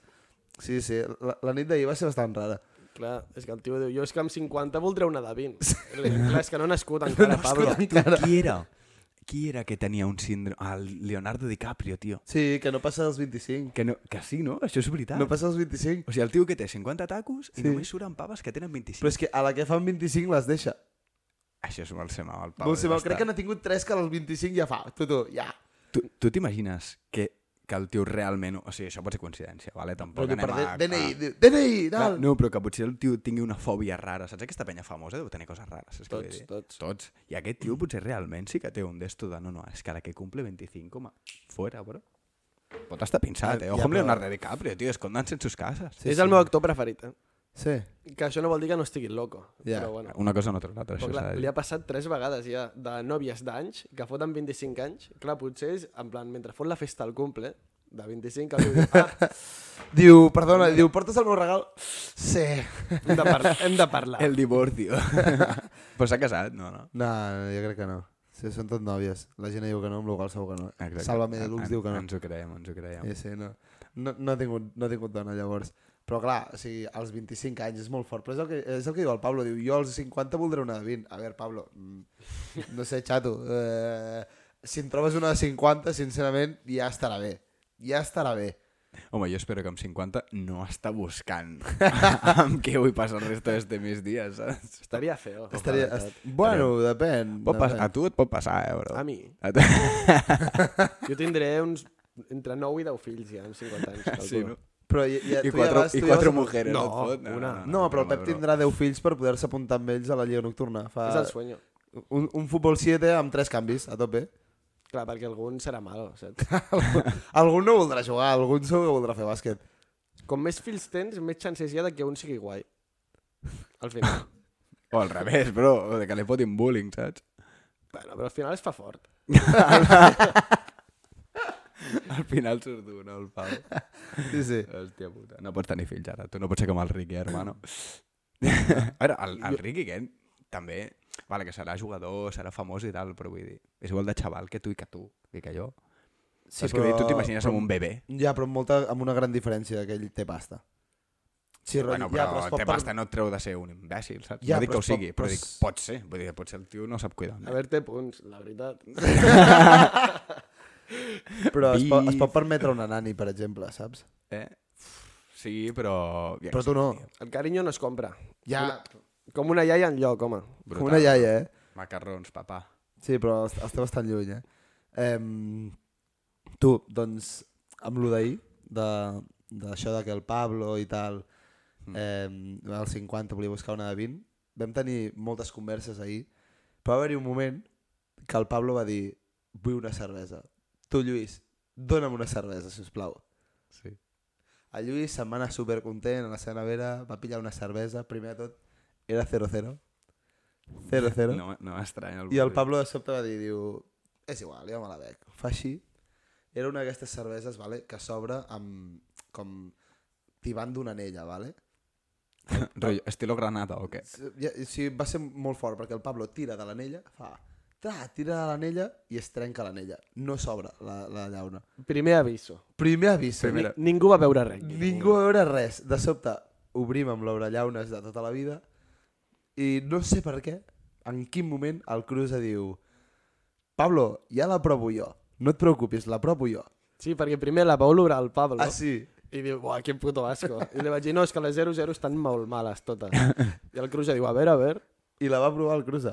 S1: Sí, sí, la, la nit d'ahir va ser bastant rara.
S3: Clar, és que el tio diu, jo és que amb 50 voldré una de
S1: [laughs]
S3: 20. Li dic, Clar, és que no he nascut encara, Pablo.
S2: Qui era? Qui era que tenia un síndrome? El Leonardo DiCaprio, tio.
S1: Sí, que no passa dels 25.
S2: Que, no, que sí, no? Això és veritat.
S1: No passa dels 25.
S2: O sigui, el tio que té 50 tacos i
S1: Sí.
S2: només surten paves que tenen 25.
S1: Però és que a la que fan 25 les deixa.
S2: Això és molt ser mal, el Pau.
S1: Pau, Sabeu, crec que n'ha tingut 3 que als 25 ja fa. Tu, tu, ja.
S2: Tu tu t'imagines que, que el tio realment... O sigui, això pot ser coincidència, vale?
S1: Però
S2: Tampoc
S1: tu
S2: anem
S1: per
S2: a...
S1: DNI,
S2: a-
S1: diu, DNI,
S2: Clar,
S1: tal.
S2: no, però que potser el tio tingui una fòbia rara. Saps aquesta penya famosa deu tenir coses rares? Saps què vull
S3: Tots,
S2: dir?
S3: tots.
S2: Tots. I aquest tio potser realment sí que té un d'esto de no, no, és que a la que cumple 25, com a... Fuera, bro. Pot estar pinçat,
S1: Ja,
S2: eh?
S1: ja,
S2: Ojo amb
S1: però-
S2: Leonardo DiCaprio, tio, escondanse en sus cases.
S3: és el meu actor preferit, eh?
S1: Sí.
S3: Que això no vol dir que no estigui loco.
S1: Ja.
S3: Però bueno.
S2: Una cosa no treu l'altra,
S3: Però
S2: això
S3: clar,
S2: s'ha de
S3: li
S2: dir.
S3: ha passat tres vegades ja de nòvies d'anys, que foten 25 anys. Clar, potser és, en plan, mentre fot la festa al cumple, de 25, el tio diu, ah,
S1: Diu, perdona, diu, portes el meu regal? Sí.
S3: hem de, parlar, hem de parlar.
S2: El divorcio. [laughs] però s'ha casat, no, no?
S1: No, no, jo crec que no. Sí, són tot nòvies. La gent diu que no, amb la qual segur que no.
S2: Exacte.
S1: Sálvame de Lux
S2: En-
S1: diu que no.
S2: Ens ho creiem, ens ho creiem.
S1: Sí, sí, no. No, no, ha tingut, no ha tingut dona, llavors. Però clar, o sigui, als 25 anys és molt fort. Però és el que, és el que diu el Pablo. Diu, jo als 50 voldré una de 20. A veure, Pablo, mm, no sé, xato. Eh, si en trobes una de 50, sincerament, ja estarà bé. Ja estarà bé.
S2: Home, jo espero que amb 50 no està
S1: [laughs]
S2: buscant amb què vull passar el resto d'este mis dies, saps?
S3: Estaria feo.
S1: Estaria,
S3: la
S1: est... oh.
S3: veritat.
S1: Bueno, depèn.
S2: Pot
S1: depèn.
S2: passar, a tu et pot passar, eh, bro?
S3: A mi.
S2: A tu...
S3: Jo tindré uns entre 9 i 10 fills ja, amb 50
S1: [laughs]
S3: anys. calculo.
S2: Sí, no?
S1: Però ja, ja,
S2: [laughs] I
S1: tu
S2: quatre,
S1: vas- tu
S2: i
S1: ja
S2: quatre
S1: vas a-
S2: mujeres, no,
S3: No,
S2: et fot?
S3: una.
S1: No, però el Pep
S2: broma, broma.
S1: tindrà 10 fills per poder-se apuntar amb ells a la Lliga Nocturna. Fa
S3: És el sueño.
S1: un, un futbol 7 amb 3 canvis, a tope.
S3: Clar, perquè algun serà malo, saps?
S1: algun no voldrà jugar, algun segur que voldrà fer bàsquet.
S3: Com més fills tens, més xances hi ha de que un sigui guai. Al final.
S2: O al revés, bro, o de que li fotin bullying, saps? [laughs]
S3: bueno, però al final es fa fort.
S2: Al final surt dur, no, el Pau?
S1: Sí, sí.
S2: Hòstia puta, no pots tenir fills ara, tu no pots ser com el Ricky, eh,
S1: [laughs]
S2: hermano. a veure, el, el Ricky aquest també, vale, que serà jugador, serà famós i tal, però vull dir, és igual de xaval que tu i que tu, i que jo. Sí, Saps però... que vull dir, tu t'imagines amb un bebè.
S1: Ja, però amb, molta, amb una gran diferència, que ell té pasta. Sí,
S2: Bueno,
S1: rotllo,
S2: però,
S1: ja, però es pot
S2: té
S1: per-
S2: pasta no et treu de ser un imbècil, saps?
S1: Ja,
S2: no dic
S1: però
S2: que ho
S1: es pot-
S2: sigui,
S1: però
S2: però, dic,
S1: es-
S2: pot ser. Vull dir, potser el tio no sap cuidar.
S3: A veure, té punts, la veritat.
S1: Però es,
S2: Bif.
S1: pot, es pot permetre una nani, per exemple, saps?
S2: Eh? Sí, però... Ja,
S1: Però tu no.
S3: El carinyo no es compra.
S1: Ja,
S3: Una, com una iaia en lloc, home.
S1: com una iaia, eh?
S2: Macarrons, papà.
S1: Sí, però est- està bastant lluny, eh? Em, tu, doncs, amb lo d'ahir, de- d'això de, que el Pablo i tal, em, al 50 volia buscar una de 20, vam tenir moltes converses ahir, però va haver-hi un moment que el Pablo va dir vull una cervesa. Tu, Lluís, dona'm una cervesa, si us plau.
S2: Sí.
S1: El Lluís se'n va anar supercontent a la seva nevera, va pillar una cervesa, primer de tot era 0-0. 0-0.
S2: No, no m'estranya.
S1: I el
S2: Bolí.
S1: Pablo de sobte va dir, diu, és igual, jo me la bec. Fa així. Era una d'aquestes cerveses, vale, que s'obre amb... com... t'hi van d'una anella, vale?
S2: [laughs] Rotllo, estilo granada o què?
S1: Sí, ja- sí, va ser molt fort, perquè el Pablo tira de l'anella, fa... Tra, tira de l'anella i es trenca l'anella. No s'obre la, la llauna.
S3: Primer aviso.
S1: Primer avís.
S2: Primer- Mira.
S3: Ningú va veure res.
S1: Ningú va veure res. De sobte, obrim amb l'obra llaunes de tota la vida i no sé per què, en quin moment el Cruz diu Pablo, ja la provo jo. No et preocupis, la provo jo.
S3: Sí, perquè primer la va olorar el Pablo.
S1: Ah, sí?
S3: I diu, buah, quin puto asco. I li vaig dir, no, és que les 00 estan molt males
S1: [laughs]
S3: totes. I el Cruz ja diu, a veure, a veure.
S1: I la va provar el Cruz.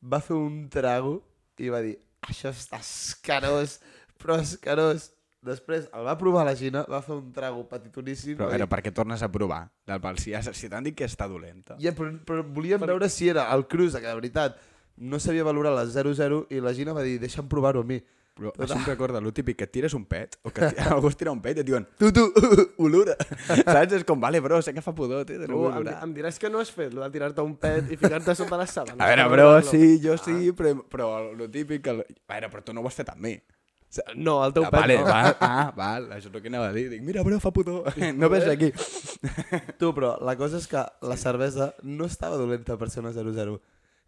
S1: Va fer un trago i va dir això està escarós, però escarós. Després el va provar la Gina, va fer un trago petitoníssim.
S2: Però,
S1: va
S2: a veure,
S1: dir,
S2: per què tornes a provar? Del pal, si, ja, si t'han dit que està dolenta.
S1: Ja, però, però volíem veure si era el Cruz, que de veritat no sabia valorar la 0-0 i la Gina va dir, deixa'm provar-ho a mi.
S2: Però això em recorda lo típic que et tires un pet o que [laughs] ti- algú es tira un pet i et diuen
S1: Tu, tu,
S2: [laughs] olora. Saps? És com, vale, bro, sé que fa pudor, té,
S3: Tu
S2: no vull
S3: em,
S2: olorar.
S3: em diràs que no has fet, lo de tirar-te un pet i ficar-te sota la sabana.
S2: A veure,
S3: No,
S2: bro,
S3: no, no.
S2: sí, jo sí, però, però lo típic... Que... A veure, però tu no ho has fet amb mi.
S3: No, el teu
S2: Ah,
S3: pet
S2: vale,
S3: no.
S2: va, ah, val, això és el que anava a dir. Dic, mira, bro, fa pudor. [laughs] No ves aquí.
S1: tu, però la cosa és que la cervesa no estava dolenta per ser una 0-0.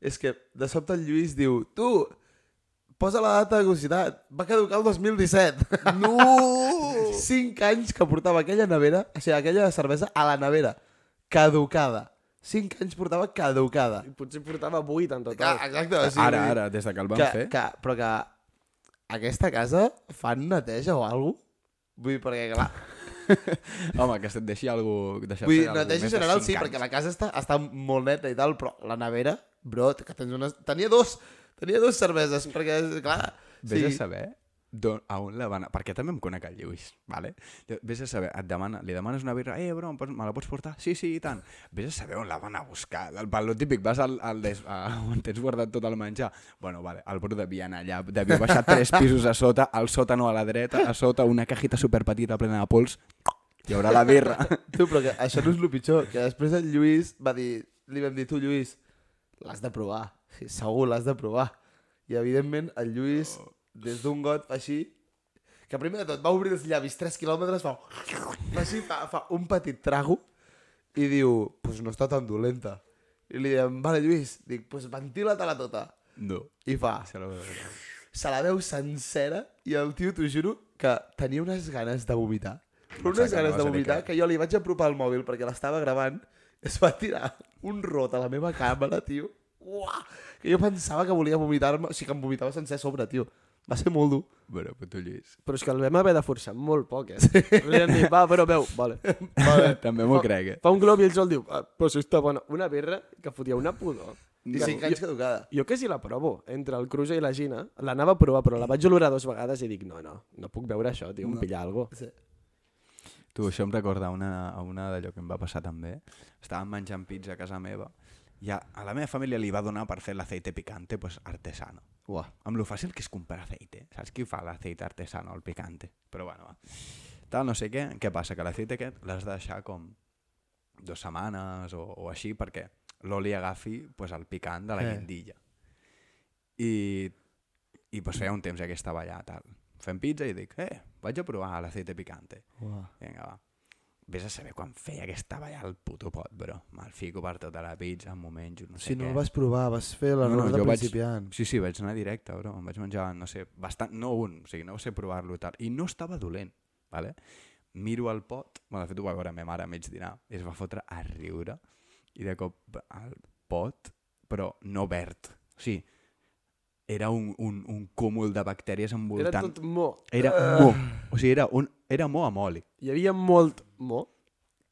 S1: És que de sobte el Lluís diu, tu, posa la data de caducitat, va caducar el 2017.
S2: Uh! [laughs] Oh.
S1: [laughs] No! 5 anys que portava aquella nevera, o sigui, aquella cervesa a la nevera, caducada. 5 anys portava caducada.
S3: I potser portava 8 en total.
S1: Ah, Exacte, o sigui,
S2: Ara, ara, des de que el van
S1: que,
S2: fer.
S1: que, però que aquesta casa fan neteja o alguna cosa? Vull dir, perquè clar...
S2: Home, que se't deixi algú... deixar-te
S1: Vull dir,
S2: algú
S1: neteja
S2: més de
S1: general
S2: cinc
S1: sí,
S2: anys.
S1: perquè la casa està, està molt neta i tal, però la nevera, bro, que tens unes... Tenia dos, tenia dos cerveses, perquè, clar...
S2: Vés a saber d'on, a on la van... Perquè també em conec el Lluís, vale? Vés a saber, et demana, li demanes una birra, eh, bro, em pots- me la pots portar? Sí, sí, i tant. Vés a saber on la van a buscar. El, per lo típic, vas al, al des, a, on tens guardat tot el menjar. Bueno, vale, el Bru devia anar allà, devia baixar [laughs] tres pisos a sota, al sòtano a la dreta, a sota una cajita superpetita plena de pols, hi haurà la birra.
S1: Tu, però que això no és el pitjor, que després el Lluís va dir, li vam dir, tu, Lluís, l'has de provar, sí, segur, l'has de provar. I, evidentment, el Lluís, des d'un got, fa així, que primer de tot va obrir els llavis 3 quilòmetres, fa, fa així, fa, fa un petit trago, i diu, pues no està tan dolenta. I li diem, vale, Lluís, dic, pues ventila-te-la tota.
S2: [laughs] No.
S1: I fa,
S2: Se la veurà.
S1: se la veu sencera i el tio, t'ho juro, que tenia unes ganes de vomitar. Però
S2: Pensava
S1: unes
S2: que
S1: ganes de
S2: anaves a dir
S1: vomitar que jo li vaig apropar el mòbil perquè l'estava gravant, es va tirar un rot a la meva càmera, tio. Uah! Que jo pensava que volia vomitar-me, o sigui que em vomitava sencer a sobre, tio. Va ser molt dur.
S2: Bueno, però tu, Lluís.
S3: Però és que el vam haver de forçar molt poc, eh? [laughs] Li vam dir, va, però veu,
S2: [laughs]
S3: vale.
S2: També m'ho crec, eh?
S3: Fa un glob i el Joel diu, ah, però si està bona. Una birra que fotia una pudor.
S1: I cinc anys caducada.
S3: Jo que si la provo, entre el Cruza i la Gina, l'anava a provar, però la vaig olorar dues vegades i dic, no, no, no puc veure això, tio, em pilla algo.
S1: Sí.
S2: Tu, això em recorda a una, a una d'allò que em va passar també. Estàvem menjant pizza a casa meva i a, a la meva família li va donar per fer l'aceite picante pues, artesano.
S1: Uah.
S2: Amb lo fàcil que és comprar aceite. Saps qui fa l'aceite artesano, el picante? Però bueno, va. Tal, no sé què. Què passa? Que l'aceite aquest l'has de deixar com dues setmanes o, o així perquè l'oli agafi pues, el picant de la
S1: Eh.
S2: guindilla. I, i pues, feia un temps ja que estava allà, tal. Fem pizza i dic, eh, vaig a provar l'aceite picante.
S1: Uah.
S2: Vinga, va. Vés a saber quan feia que estava allà el puto pot, bro. Me'l fico per tota la pizza, m'ho menjo, no sé
S1: Si no
S2: què.
S1: el vas provar, vas fer l'error no, no, de
S2: jo
S1: principiant.
S2: Vaig... Sí, sí, vaig anar directe, bro. Em vaig menjar, no sé, bastant... No un, o sigui, no sé provar-lo i tal. I no estava dolent, vale? Miro el pot, bueno, de fet ho va veure ma mare a mig dinar, i es va fotre a riure, i de cop el pot, però no verd. O sigui, era un, un, un cúmul de bactèries
S3: Era
S2: envoltant.
S3: tot mo.
S2: Era mo. O sigui, era, un, era mo amb oli.
S3: Hi havia molt mo.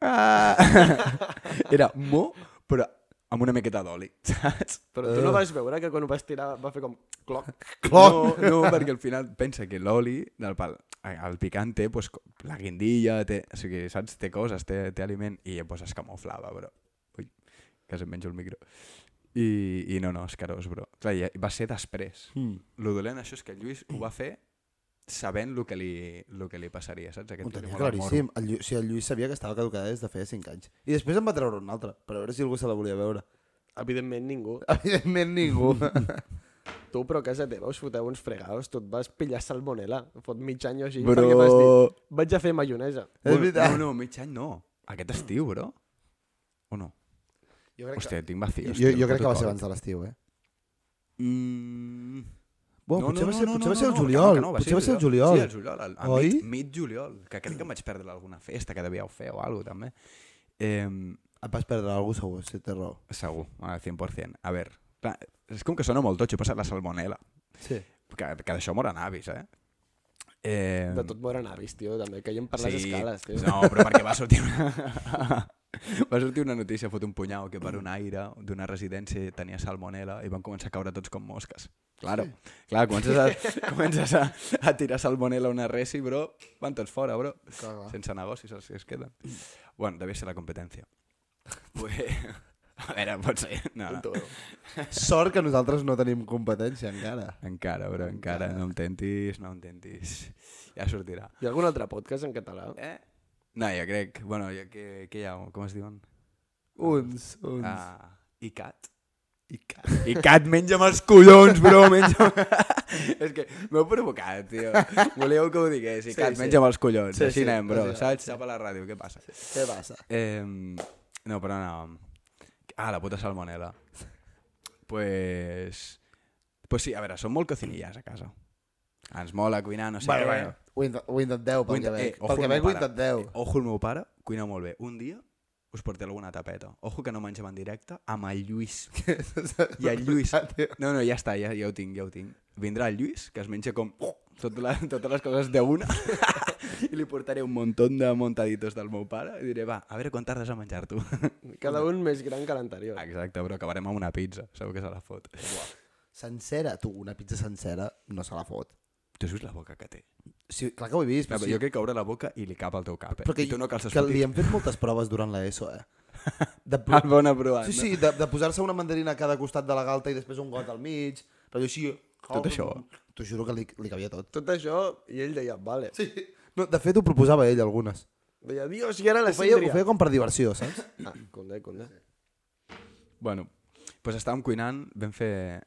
S2: Ah.
S1: [laughs]
S2: Era mo, però amb una miqueta d'oli, [laughs] saps?
S3: Però tu no vas veure que quan ho vas tirar va fer com cloc.
S2: No, no, perquè al final pensa que l'oli, del pal, eh, el picant té pues, co- la guindilla, té, o sigui, saps? té coses, té, té aliment, i pues, es camuflava, bro. Ui, que se'm menjo el micro. I, i no, no, escarós, bro. Clar, i eh, va ser després.
S1: Mm.
S2: Lo dolent això és que el Lluís ho va fer sabent el que li, lo que li passaria, saps? Aquest
S1: Ho
S2: tio li
S1: tenia
S2: mola el morro.
S1: claríssim. El, Llu- o sigui, el Lluís sabia que estava caducada des de feia 5 anys. I després em va treure un altre, per veure si algú se la volia veure.
S3: Evidentment ningú.
S1: Evidentment ningú.
S3: Tu, però a casa teva us foteu uns fregados, tu et vas pillar salmonella. Fot mig any o així,
S2: Bro.
S3: perquè vas dir, vaig a fer maionesa.
S1: És
S2: Bueno,
S1: veritat.
S2: No, no, mig any no. Aquest estiu, bro. O no?
S1: Jo crec
S2: Hòstia, tinc vacío.
S1: Jo, jo crec que va ser abans de l'estiu, eh?
S2: Mm...
S1: Bueno, potser va ser- potser va ser el juliol,
S2: que
S1: potser va ser el
S2: Sí,
S1: juliol.
S2: el juliol, al, a
S1: Oi?
S2: mig, mig juliol, que crec que em vaig perdre alguna festa que devíeu fer o alguna també. Eh,
S1: Et vas perdre algú segur, si té raó.
S2: segur, al 100%. A veure, clar, és com que sona molt totxo, passa la salmonela,
S1: Sí.
S2: que, que d'això moren avis, eh? eh
S3: De tot moren avis, tio, també caiem per les escales, tio.
S2: No, però perquè va sortir una... [laughs] va sortir una notícia, fot un punyau, que per un aire d'una residència tenia salmonela i van començar a caure tots com mosques. Claro, sí. clar, comences, a, [laughs] comences a, a tirar salmonela a una res i, bro, van tots fora, bro.
S1: Clar, clar.
S2: Sense negoci, saps si es queden. Bueno, devia ser la competència. Pues... A veure, pot ser. No,
S1: Ah.
S2: no.
S1: Sort que nosaltres no tenim competència encara.
S2: Encara, bro, encara. No em tentis, no em tentis. Ja sortirà.
S3: Hi ha algun altre podcast en català?
S2: Eh? No, jo crec... Bueno, jo, què, què hi ha? Com es diuen?
S1: Uns, uns. Ah.
S2: Ah, ICAT. ICAT. ICAT, menja'm els collons, bro, menja'm... [laughs] és que m'heu provocat, tio. Volíeu que ho digués, ICAT,
S1: sí.
S2: sí, menja'm els collons.
S1: Sí,
S2: Sí, Així
S1: sí,
S2: sí, anem, bro,
S1: sí, sí.
S2: saps? Sap a la ràdio, què passa?
S1: Què passa?
S2: Eh, no, però no. Ah, la puta salmonela. Pues... Pues sí, a veure, som molt cocinillas a casa. Ens mola cuinar, no sé
S1: Bueno,
S2: què.
S1: bueno, ho, intent, ho intenteu
S2: Ho
S1: pel
S2: int-
S1: que veig.
S2: eh, ojo
S1: pel
S2: el
S1: que
S2: meu
S1: veig ho
S2: pare.
S1: intenteu.
S2: Ojo, el meu pare cuina molt bé. Un dia us porté alguna tapeta. Ojo que no mengem en directe amb el
S1: [laughs]
S2: Lluís. I el Lluís... No, no, ja està, ja, ja ho tinc, ja ho tinc. Vindrà el Lluís, que es menja com uh, tot la, totes les coses d'una [laughs] i li portaré un montón de montaditos del meu pare i diré, va, a veure quan tardes a menjar-t'ho.
S3: Cada un més gran que l'anterior.
S2: Exacte, però acabarem amb una pizza. Segur que se la fot.
S1: Sencera, tu, una pizza sencera no se la fot.
S2: Tu has vist la boca que té?
S1: Sí, clar que ho he vist,
S2: Clar,
S1: però,
S2: Ah, però
S1: sí.
S2: jo crec que obre la boca i li cap al teu cap, eh?
S1: però que,
S2: I tu no cal
S1: que li
S2: [laughs] sortir.
S1: hem fet moltes proves durant l'ESO, [laughs] eh? De,
S2: Li... El bon aprovant,
S1: sí, sí, de, de posar-se una mandarina a cada costat de la galta i després un got al mig, però jo així...
S2: Tot això.
S1: T'ho juro que li, li cabia tot.
S3: Tot això, i ell deia, vale.
S1: Sí. No, de fet, ho proposava ell, algunes.
S3: Deia, Dios, i era la
S1: Ho feia, ho
S3: síndria.
S1: feia com per diversió, saps?
S2: Eh,
S3: Ah, condé, condé.
S2: no? Bueno, doncs estàvem cuinant, vam fer...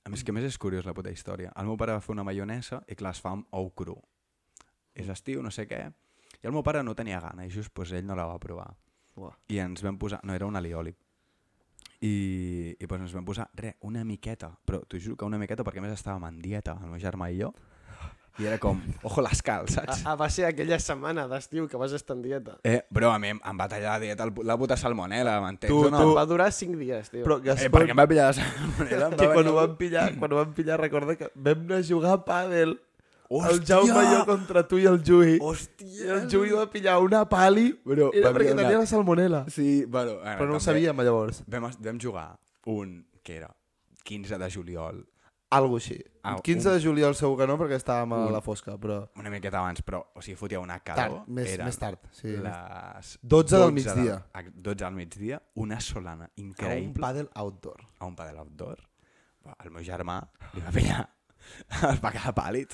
S2: A més, que a més és curiós la puta història. El meu pare va fer una maionesa i clar, es fa amb ou cru. És estiu, no sé què. I el meu pare no tenia gana i just doncs, ell no la va provar.
S1: Uah.
S2: I ens vam posar... No, era un alioli. I, i doncs ens vam posar, re, una miqueta, però t'ho juro que una miqueta, perquè a més estàvem en dieta, el meu germà i jo, i era com, ojo les cal,
S3: Ah,
S1: [laughs]
S2: saps?
S3: ah, va ser aquella setmana d'estiu que vas estar en dieta.
S2: Eh, bro, a mi em, em va tallar la dieta el pu- la puta salmonela, m'entens
S1: Tu-
S2: o no?
S1: tu-
S3: Va durar 5 dies, tio.
S1: Però
S2: Eh,
S1: Gaspar,
S2: perquè em va pillar la salmonela? em
S1: que
S2: va
S1: quan
S2: venir
S1: ho
S2: un-
S1: vam pillar, quan ho vam pillar, recorda que vam anar a jugar a pàdel. Hòstia! El
S2: Hòstia!
S1: Jaume i jo contra tu i el Jui. I
S2: Hòstia!
S1: el Jui va pillar una pali,
S2: Bro,
S1: era
S2: vam
S1: perquè
S2: donar-
S1: tenia la salmonela.
S2: Sí, bueno... Ara,
S1: Però no ho
S2: també
S1: sabíem, llavors.
S2: Vam, es- vam jugar un, que era 15 de juliol,
S1: Algo així.
S2: Ah,
S1: El 15 de juliol segur que no, perquè estàvem a la fosca, però...
S2: una miqueta abans, però, o sigui, fotia una calor.
S1: Tard, més,
S2: eren
S1: més tard. Sí.
S2: Les
S1: 12 del migdia.
S2: de- 12 del migdia, una solana
S1: A un
S2: increïble
S1: pàdel outdoor.
S2: a un padel outdoor. Va, El meu germà li va pillar [laughs] es va quedar pàl·lid.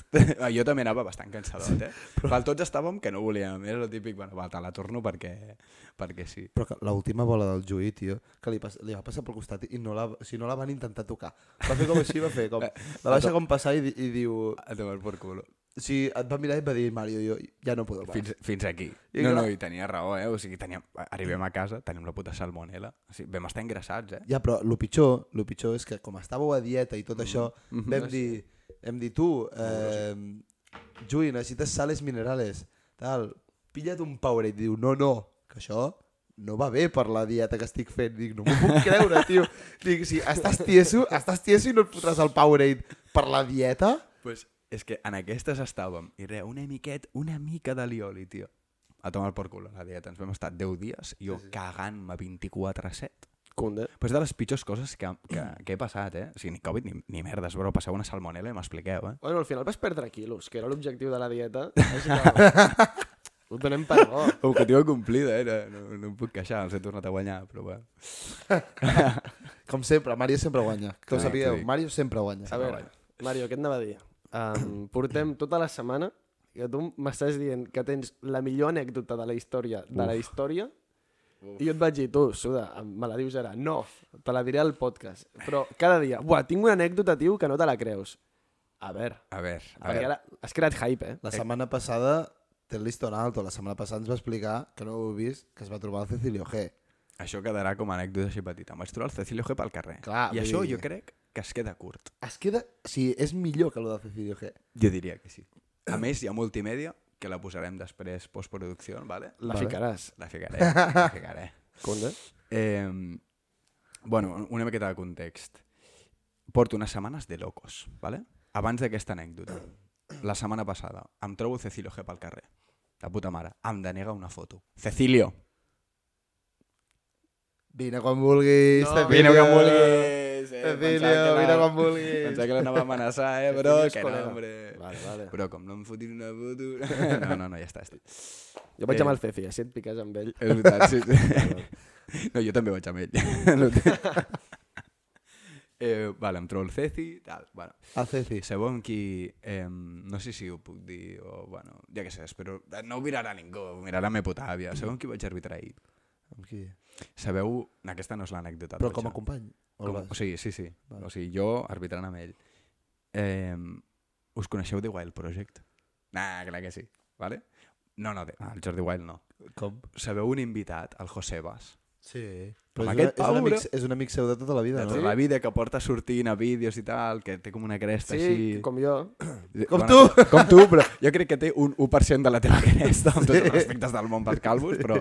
S2: Jo també anava bastant cansadot, eh? Però... Pel tots estàvem que no volíem. Era el típic, bueno, va, te la torno perquè, perquè sí.
S1: Però que l'última bola del Jui, tio, que li, pas, li va passar pel costat i no la, o sigui, no la van intentar tocar. Va fer com així, va fer com... La baixa com passar i, di- i diu...
S2: A tomar por culo.
S1: O sigui, et va mirar i et va dir, Mario, jo ja no puc el bar.
S2: Fins, fins aquí.
S1: I
S2: no,
S1: clar-
S2: no, i tenia raó, eh? O sigui, teníem, arribem a casa, tenim la puta salmonela. O sigui, vam estar engrassats, eh?
S1: Ja, però el pitjor, lo pitjor és que com estàveu a dieta i
S3: Mm.
S1: tot això, vam dir, hem dit tu, eh, Jui, necessites sales minerales, tal, pilla't un Powerade. Diu, no, no, que això no va bé per la dieta que estic fent. Dic, no m'ho puc creure, tio. Dic, si estàs tieso, estàs tieso i no et fotràs el Powerade per la dieta?
S2: Pues, és que en aquestes estàvem. I res, una miquet, una mica de lioli, tio. A tomar por culo, la dieta. Ens vam estar 10 dies, jo cagant-me 24-7.
S3: Condé.
S2: Però és de les pitjors coses que, que, que he passat, eh? O sigui, ni Covid ni, ni merdes, bro. Passeu una salmonella i m'expliqueu, eh?
S3: Bueno, al final vas perdre quilos, que era l'objectiu de la dieta. Així que...
S2: [laughs]
S3: Ho donem per bo.
S2: Objectiu complida, eh? No, no em puc queixar, els he tornat a guanyar, però bueno.
S1: Com sempre, Mario sempre guanya. Que ho
S2: Clar, t'ho
S1: sapigueu,
S2: dic.
S1: Mario sempre guanya.
S3: A veure, Mario, què et anava a dir? Um, portem tota la setmana que tu m'estàs dient que tens la millor anècdota de la història de la història i jo et vaig dir, tu, Suda, em- me la dius ara. No, te la diré al podcast. Però cada dia, buah, tinc una anècdota, tio, que no te la creus. A veure,
S2: A veure, a
S3: perquè
S2: veure.
S3: ara has creat hype, eh?
S1: La setmana passada, té el listón alto, la setmana passada ens va explicar, que no ho heu vist, que es va trobar el Cecilio G.
S2: Això quedarà com a anècdota així petita. Em vaig trobar el Cecilio G pel carrer.
S1: Clar,
S2: I
S1: vull
S2: això
S1: dir-
S2: jo crec que es queda curt.
S1: Es queda... Sí, és millor que el de Cecilio G.
S2: Jo diria que sí. A més, hi ha multimèdia, que la posarem després postproducció, vale?
S3: La ficaràs.
S2: La
S1: [laughs]
S2: ficaré, la ficaré.
S3: Conde.
S2: Eh, bueno, una miqueta de context. Porto unes setmanes de locos, ¿vale? Abans d'aquesta anècdota. La setmana passada em trobo Cecilio G pel carrer. La puta mare. Em denega una foto. Cecilio!
S1: Vine quan vulguis,
S3: No,
S1: Cecilio.
S2: Vine que em vulguis! sí.
S1: Cecilio, vine em quan
S2: [laughs]
S1: vulguis.
S2: Pensava que l'anava a amenaçar, eh, bro,
S3: Cecilio és
S2: que no,
S3: col·lega.
S2: hombre.
S3: Vale, vale.
S2: Però com no em fotin una foto... [laughs] No, no, no, ja està. està.
S3: Jo vaig
S2: Eh.
S3: amb el Cefi, eh, si et piques amb ell.
S2: És veritat, sí. [laughs] No, jo també vaig amb ell. No té- [laughs] eh, vale, em trobo el Ceci, tal, bueno.
S1: A Ceci.
S2: Sí, sabeu amb qui... Eh, no sé si ho puc dir o... Bueno, ja que sé, espero... No ho mirarà ningú, ho mirarà la meva puta àvia. Sabeu amb qui vaig arbitrar ahir?
S1: Amb qui?
S2: Sabeu... Aquesta no és l'anècdota.
S1: Però
S2: tot
S1: com a
S2: això.
S1: company? O
S2: Com,
S1: el
S2: o
S1: vas?
S2: sigui, sí, sí.
S1: Vale.
S2: O sigui, jo arbitrant amb ell. Eh, us coneixeu The Wild Project? Nah, clar que sí. Vale? No, no, de- ah, el Jordi Wild no.
S1: Com?
S2: Sabeu un invitat, el José Bas,
S1: Sí.
S2: Amb
S1: Però és, una, és,
S2: aquest
S1: un
S2: pau,
S1: amic, és un amic seu de tota la
S2: de
S1: vida,
S2: tota
S1: no?
S2: la vida, que porta sortint a vídeos i tal, que té com una cresta
S3: Sí,
S2: així...
S3: com jo.
S1: Com
S2: tu! Com tu, però jo crec que té un 1% de la
S1: [laughs]
S2: teva cresta, amb tots els respectes del món pels calvos, però,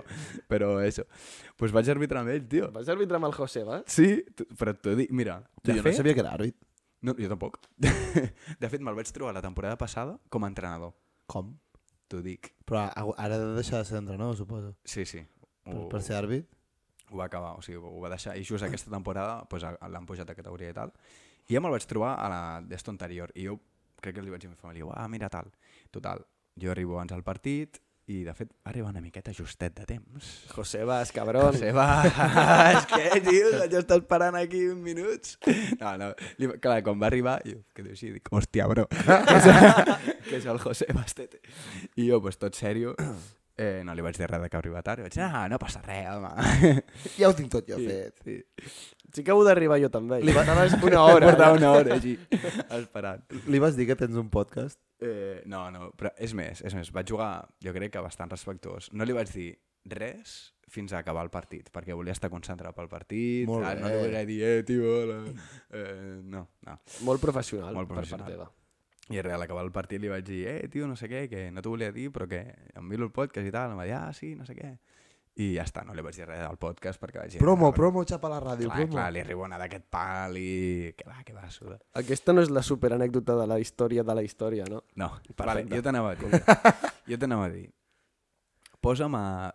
S2: però això. Doncs pues vaig arbitrar amb ell, tio.
S3: Vas arbitrar amb el José, va?
S2: Sí, tu- però t'ho dic, mira...
S1: Tio,
S2: de
S1: jo no
S2: fet-
S1: sabia que era àrbit.
S2: No, jo tampoc. [laughs] De fet, me'l vaig trobar la temporada passada com a entrenador.
S1: Com?
S2: T'ho dic.
S1: Però a- ara ha de deixar de ser entrenador, suposo.
S2: Sí, sí.
S1: Per,
S2: Ho,
S1: per ser àrbit?
S2: ho va acabar, o sigui, ho va deixar. I just aquesta temporada pues, a- a- l'han pujat a categoria i tal. I ja me'l vaig trobar a la d'esto anterior. I jo crec que li vaig dir a la família, ah, mira tal. Total, jo arribo abans al partit i, de fet, va arribar una miqueta justet de temps.
S3: José Vas, cabrón.
S1: [laughs]
S2: Se va, és que, tio, jo estat parant aquí uns minuts. No, no, li, clar, quan va arribar, jo, que dius, sí, dic, hòstia, bro, que és, que és el [laughs] José Bastete. I jo, pues, tot serio, eh, no li vaig dir res de que arriba tard, i vaig dir, ah, no passa res,
S1: [laughs]
S2: home.
S1: Ja ho tinc tot jo
S2: I-
S1: fet.
S2: Sí,
S3: Sí que heu d'arribar jo també.
S2: Li
S3: Li
S2: va-
S3: Estaves
S2: [laughs]
S3: una hora.
S2: Portava
S3: allà.
S2: una hora
S1: [laughs]
S2: allí, esperant.
S1: Li vas dir que tens un podcast?
S2: Eh, no, no, però és més, és més, vaig jugar, jo crec que bastant respectuós. No li vaig dir res fins a acabar el partit, perquè volia estar concentrat pel partit,
S1: Molt
S2: tal, no li
S1: bé.
S2: volia dir, eh, tio, hola. Eh, no, no.
S3: Molt professional,
S2: Molt
S3: Molt
S2: professional.
S3: professional. per part teva.
S2: I res, a l'acabar el partit li vaig dir, eh, tio, no sé què, que no t'ho volia dir, però que em miro el podcast i tal, em va dir, ah, sí, no sé què. I ja està, no li vaig dir res del podcast perquè vaig dir...
S1: Promo,
S2: "Ah, però-
S1: promo, xapa la ràdio,
S2: Clar,
S1: promo.
S2: clar, li arriba una d'aquest pal i... Que va, que va, suda.
S3: Aquesta no és la superanècdota de la història de la història, no?
S2: No, vale,
S3: Perfecte.
S2: jo t'anava a dir. jo t'anava a dir. Posa'm a...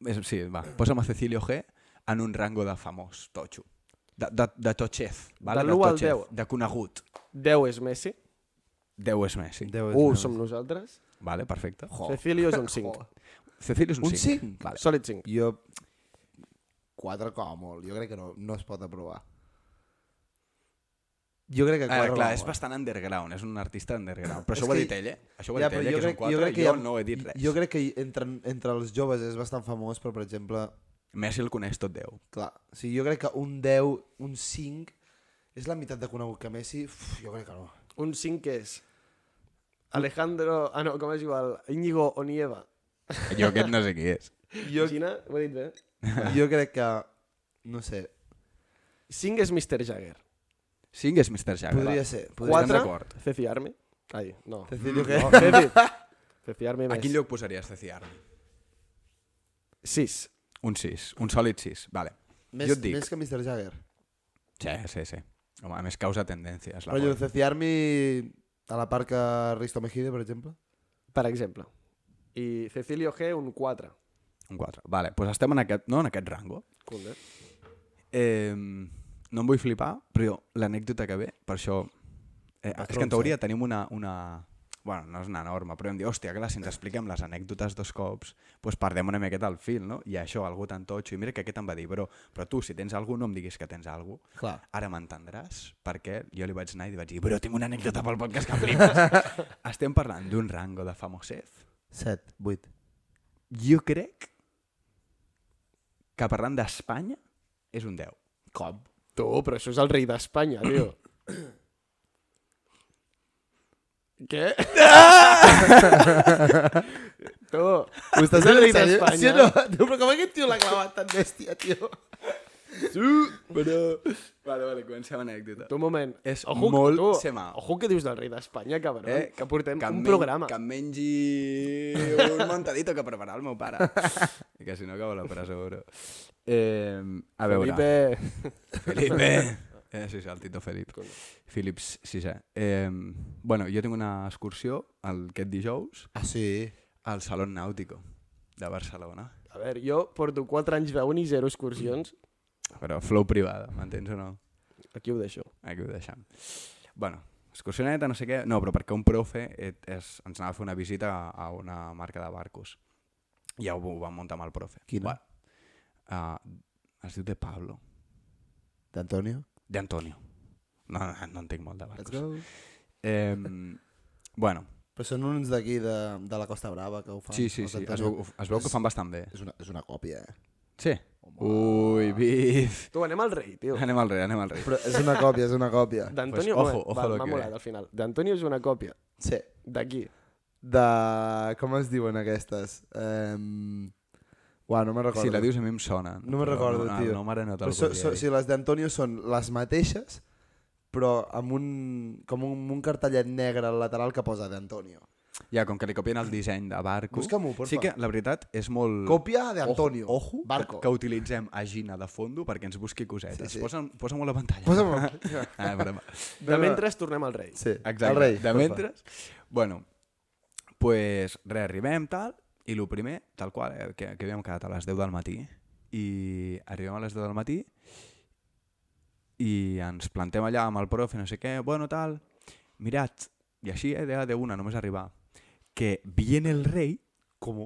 S2: És, sí, va, posa'm a Cecilio G en un rango de famós, totxo. De, de, de totxef, vale?
S3: De l'u al
S2: totxef,
S3: deu.
S2: De conegut.
S3: 10 és Messi,
S2: 10 és més, sí. Uh,
S1: Déu és
S3: 1
S1: meu.
S3: som nosaltres,
S2: Vale, perfecte. Jo.
S3: Cecilio és un [laughs] 5.
S2: Cecilio és un,
S1: Un
S2: 5.
S1: cinc?
S2: Vale.
S3: Sòlid 5.
S1: Jo... Quatre com a molt. Jo crec que no, no es pot aprovar. Jo crec que
S2: Ah,
S1: quatre com
S2: clar,
S1: a
S2: és
S1: molt.
S2: bastant underground, és un artista underground. Però
S1: És
S2: això ho ha
S1: que-
S2: dit ell, eh? Això ho ha dit ell, eh, que és un 4, jo,
S1: hi ha-
S2: no he dit res.
S1: Jo crec que entre, entre els joves és bastant famós, però, per exemple,
S2: Messi el coneix tot 10.
S1: clar, o sigui, jo crec que un 10, un 5, és la meitat de conegut que Messi, uf, jo crec que no.
S3: Un 5 és Alejandro... Ah, no, com es diu? El Íñigo Onieva.
S2: Jo aquest no sé qui és.
S1: Jo,
S3: Gina, ho he dit bé?
S1: jo crec que, no sé,
S3: 5 és Mr. Jagger.
S2: 5 és Mr. Jagger.
S1: podria
S2: va.
S1: ser. Podria...
S2: Quatre.
S3: 4,
S2: d'acord.
S3: Ceci Arme. Ai, no.
S1: Cecilio,
S3: No,
S1: que...
S3: Ceci. Ceci Arme
S2: A
S3: més.
S2: quin lloc posaries Ceci Armi?
S3: 6.
S2: Un 6, un sòlid 6, vale.
S1: Més,
S2: jo et dic.
S1: més que Mr. Jagger.
S2: Sí, sí, sí. Home, a més causa tendències. La
S1: Però jo,
S2: polla.
S1: Ceci Armi, a la part que Risto Mejide, per exemple.
S3: Per exemple. I Cecilio G, un 4.
S2: Un 4. Vale, doncs pues estem en aquest, no, en aquest rango.
S3: Cool, eh?
S2: Eh, no em vull flipar, però l'anècdota que ve, per això... Eh, és que en
S1: tronça.
S2: teoria tenim una, una... Bueno, no és una norma, però hem dit, hòstia, clar, si ens expliquem les anècdotes dos cops, doncs perdem una miqueta el fil, no? I això, algú tan totxo, i mira que aquest em va dir, però, però tu, si tens algú, no em diguis que tens algú.
S1: Clar.
S2: Ara m'entendràs, perquè jo li vaig anar i li vaig dir, però tinc una anècdota pel podcast que flipes. Estem parlant d'un rango de famosez.
S1: 7, 8.
S2: Jo crec que parlant d'Espanya és un 10.
S1: Com?
S3: Tu, però això és el rei d'Espanya,
S2: [clears throat]
S3: tio. Què? [laughs] tu,
S1: Ho estàs
S3: És
S1: fent
S3: el rei
S1: en sèrio?
S3: d'Espanya.
S1: Sí o no? [laughs] Tio, però com aquest tio l'ha clavat tan bèstia, tio?
S2: Però... Vale, vale, comencem anècdota.
S3: tu un moment.
S2: És
S3: Ojo,
S2: molt
S3: tu,
S2: sema.
S3: Ojo que dius del rei d'Espanya, cabrón. Eh, que portem
S2: em
S3: un
S2: men-
S3: programa.
S2: Que em mengi un montadito que prepararà el meu pare. I que si no acabo a la presó, bro. Eh, a veure...
S3: Felipe...
S2: Felipe. Eh, sí, sí, el Tito Felip. Philips sisè. Eh, bueno, jo tinc una excursió el, aquest dijous
S1: Ah, sí?
S2: al Salón Nàutico de Barcelona.
S3: A veure, jo porto 4 anys de uni, 0 excursions.
S2: Però flow privada, m'entens o no?
S3: Aquí ho deixo.
S2: Aquí ho deixem. Bueno, excursioneta, no sé què... No, però perquè un profe et, és, ens anava a fer una visita a, a una marca de barcos. I ja ho, ho vam muntar amb el profe.
S1: Quina?
S2: Bueno, Uh, es diu de Pablo.
S1: D'Antonio?
S2: De Antonio. No, no, no entenc molt de barcos. Eh, bueno,
S1: Però són uns d'aquí, de, de la Costa Brava, que ho fan.
S2: sí, sí,
S1: els
S2: sí. Es
S1: Antonio.
S2: veu, es veu que ho fan bastant bé.
S1: És una, és una còpia, eh?
S2: Sí. Ui, bif.
S3: Tu, anem al rei,
S2: [laughs]
S3: tio.
S2: Anem al rei, anem al rei.
S1: Però és una còpia, és una còpia.
S2: [laughs]
S3: D'Antonio,
S2: Pues, ojo,
S3: pues,
S2: ojo
S3: va,
S2: lo
S3: m'ha
S2: que
S3: molat
S2: ve.
S3: al final. D'Antonio és una còpia,
S1: Sí.
S3: d'aquí.
S1: De... Com es diuen aquestes? Um... Uau, no me'n recordo.
S2: Si la dius a mi em sona.
S1: No me'n
S2: però
S1: recordo,
S2: no,
S1: tio.
S2: No, mare, no te'l
S1: Però so,
S2: podria
S1: so,
S2: dir.
S1: si les d'Antonio són les mateixes, però amb un, com un, un cartellet negre al lateral que posa d'Antonio.
S2: Ja, com que li copien el disseny de barco...
S1: Busca-m'ho, porfa.
S2: Sí que, la veritat, és molt...
S1: Còpia d'Antonio.
S2: Ojo, ojo
S1: Barco.
S2: Que, que utilitzem a Gina de fondo perquè ens busqui cosetes.
S1: Sí, sí.
S2: Sí, sí. Posa'm, posa'm la pantalla.
S1: Posa'm-ho.
S2: [laughs] ah, broma.
S3: De mentre tornem al rei.
S1: Sí,
S2: Exacte.
S1: el rei.
S2: de
S1: porfa.
S2: mentre... Bueno, pues res, arribem, tal, i el primer, tal qual, eh, que, que havíem quedat a les 10 del matí, i arribem a les 10 del matí i ens plantem allà amb el profe, no sé què, bueno, tal, mirat, i així, eh, de, de una, només arribar, que viene el rei
S1: Com?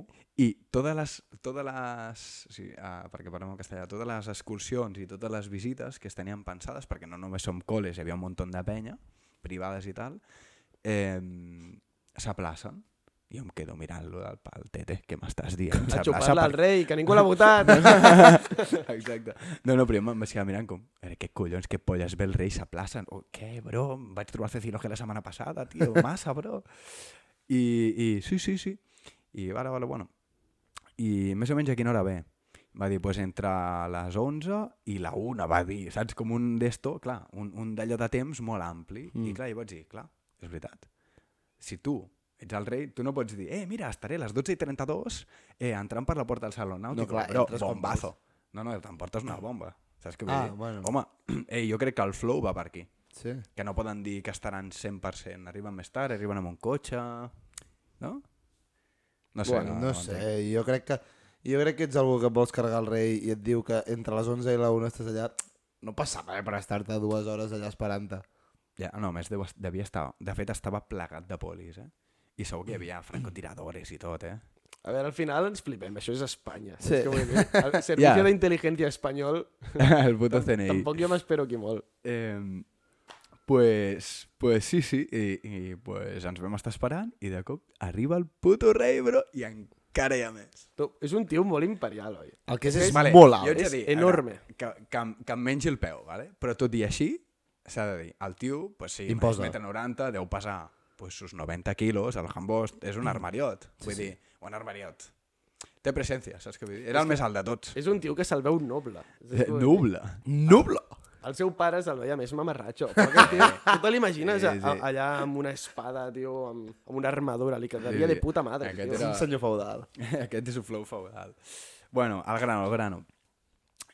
S2: i totes les, totes les sí, uh, perquè parlem en castellà, totes les excursions i totes les visites que es tenien pensades, perquè no només som col·les, hi havia un munt de penya, privades i tal, eh, s'aplacen. Jo em quedo mirant-lo del pal, tete, què m'estàs dient?
S3: [laughs] A
S2: S'aplaça
S3: xupar-la al
S2: per-
S3: rei, que ningú l'ha votat.
S2: [laughs] Exacte. No, no, però jo em vaig quedar mirant com, "A veure, què collons, què polles ve el rei, s'aplacen. O què, bro, em vaig trobar el Cecilo que la setmana passada, tio, massa, bro. I, i sí, sí, sí. I vale, vale, bueno. I més o menys a quina hora ve? Va dir, pues, entre les 11 i la 1, va dir, saps? Com un d'esto, clar, un, un d'allò de temps molt ampli. Mm. I clar, i vaig dir, clar, és veritat si tu ets el rei, tu no pots dir, eh, mira, estaré a les 12 i 32 eh, entrant per la porta del Salón Nàutic.
S1: No, clar,
S2: però
S1: entres quan
S2: bombazo. No, no, t'emportes una bomba. Saps què vull
S1: Ah,
S2: dir?
S1: bueno.
S2: Home, [clears throat] eh, jo crec que el flow va per aquí.
S1: Sí.
S2: Que no poden dir que estaran 100%. Arriben més tard, arriben amb un cotxe... No? No sé.
S1: Bueno, no,
S2: entenc.
S1: sé, jo crec que jo crec que ets algú que vols carregar el rei i et diu que entre les 11 i la 1 estàs allà, no passa res per estar-te dues hores allà esperant-te.
S2: Ja, no, a més, deu, est- devia estar... De fet, estava plegat de polis, eh? I segur que hi
S1: Mm.
S2: havia francotiradores i tot, eh?
S3: A veure, al final ens flipem, això és Espanya.
S1: Sí.
S3: Sí. És que vull dir,
S2: [laughs]
S3: el Servicio
S2: Ja.
S3: yeah. d'Intel·ligència Espanyol,
S2: El puto CNI.
S3: tampoc jo m'espero aquí molt.
S2: Eh, pues, pues sí, sí, i, i pues ens vam estar esperant i de cop arriba el puto rei, bro, i encara hi ha més.
S3: Tu, és un tio molt imperial, oi?
S1: El que és, és
S3: És-
S1: vale, molt alt.
S2: jo haig de
S3: és
S2: a
S3: enorme.
S2: veure, Que, que, em- que em mengi el peu, vale? però tot i així, s'ha de dir, el tio, pues sí,
S1: Imposa.
S2: Imposa. 90, deu pesar pues, sus 90 quilos, el Hambost, és un armariot, vull sí, dir, un armariot. Té presència, saps què vull dir? Era el més alt de tots.
S3: És un tio que se'l veu noble. És
S2: Eh,
S3: com-
S2: Nubla. Nubla!
S3: El seu pare se'l veia més mamarratxo. Però aquest tio,
S2: [laughs]
S3: tu te l'imagines
S2: Sí,
S3: a- a-
S2: sí.
S3: allà amb una espada, tio, amb, amb una armadura, li quedaria
S2: Sí, sí.
S3: de puta madre.
S2: Aquest
S3: tio.
S1: És un senyor feudal.
S2: [laughs] Aquest és un flow feudal. Bueno, al grano, al grano.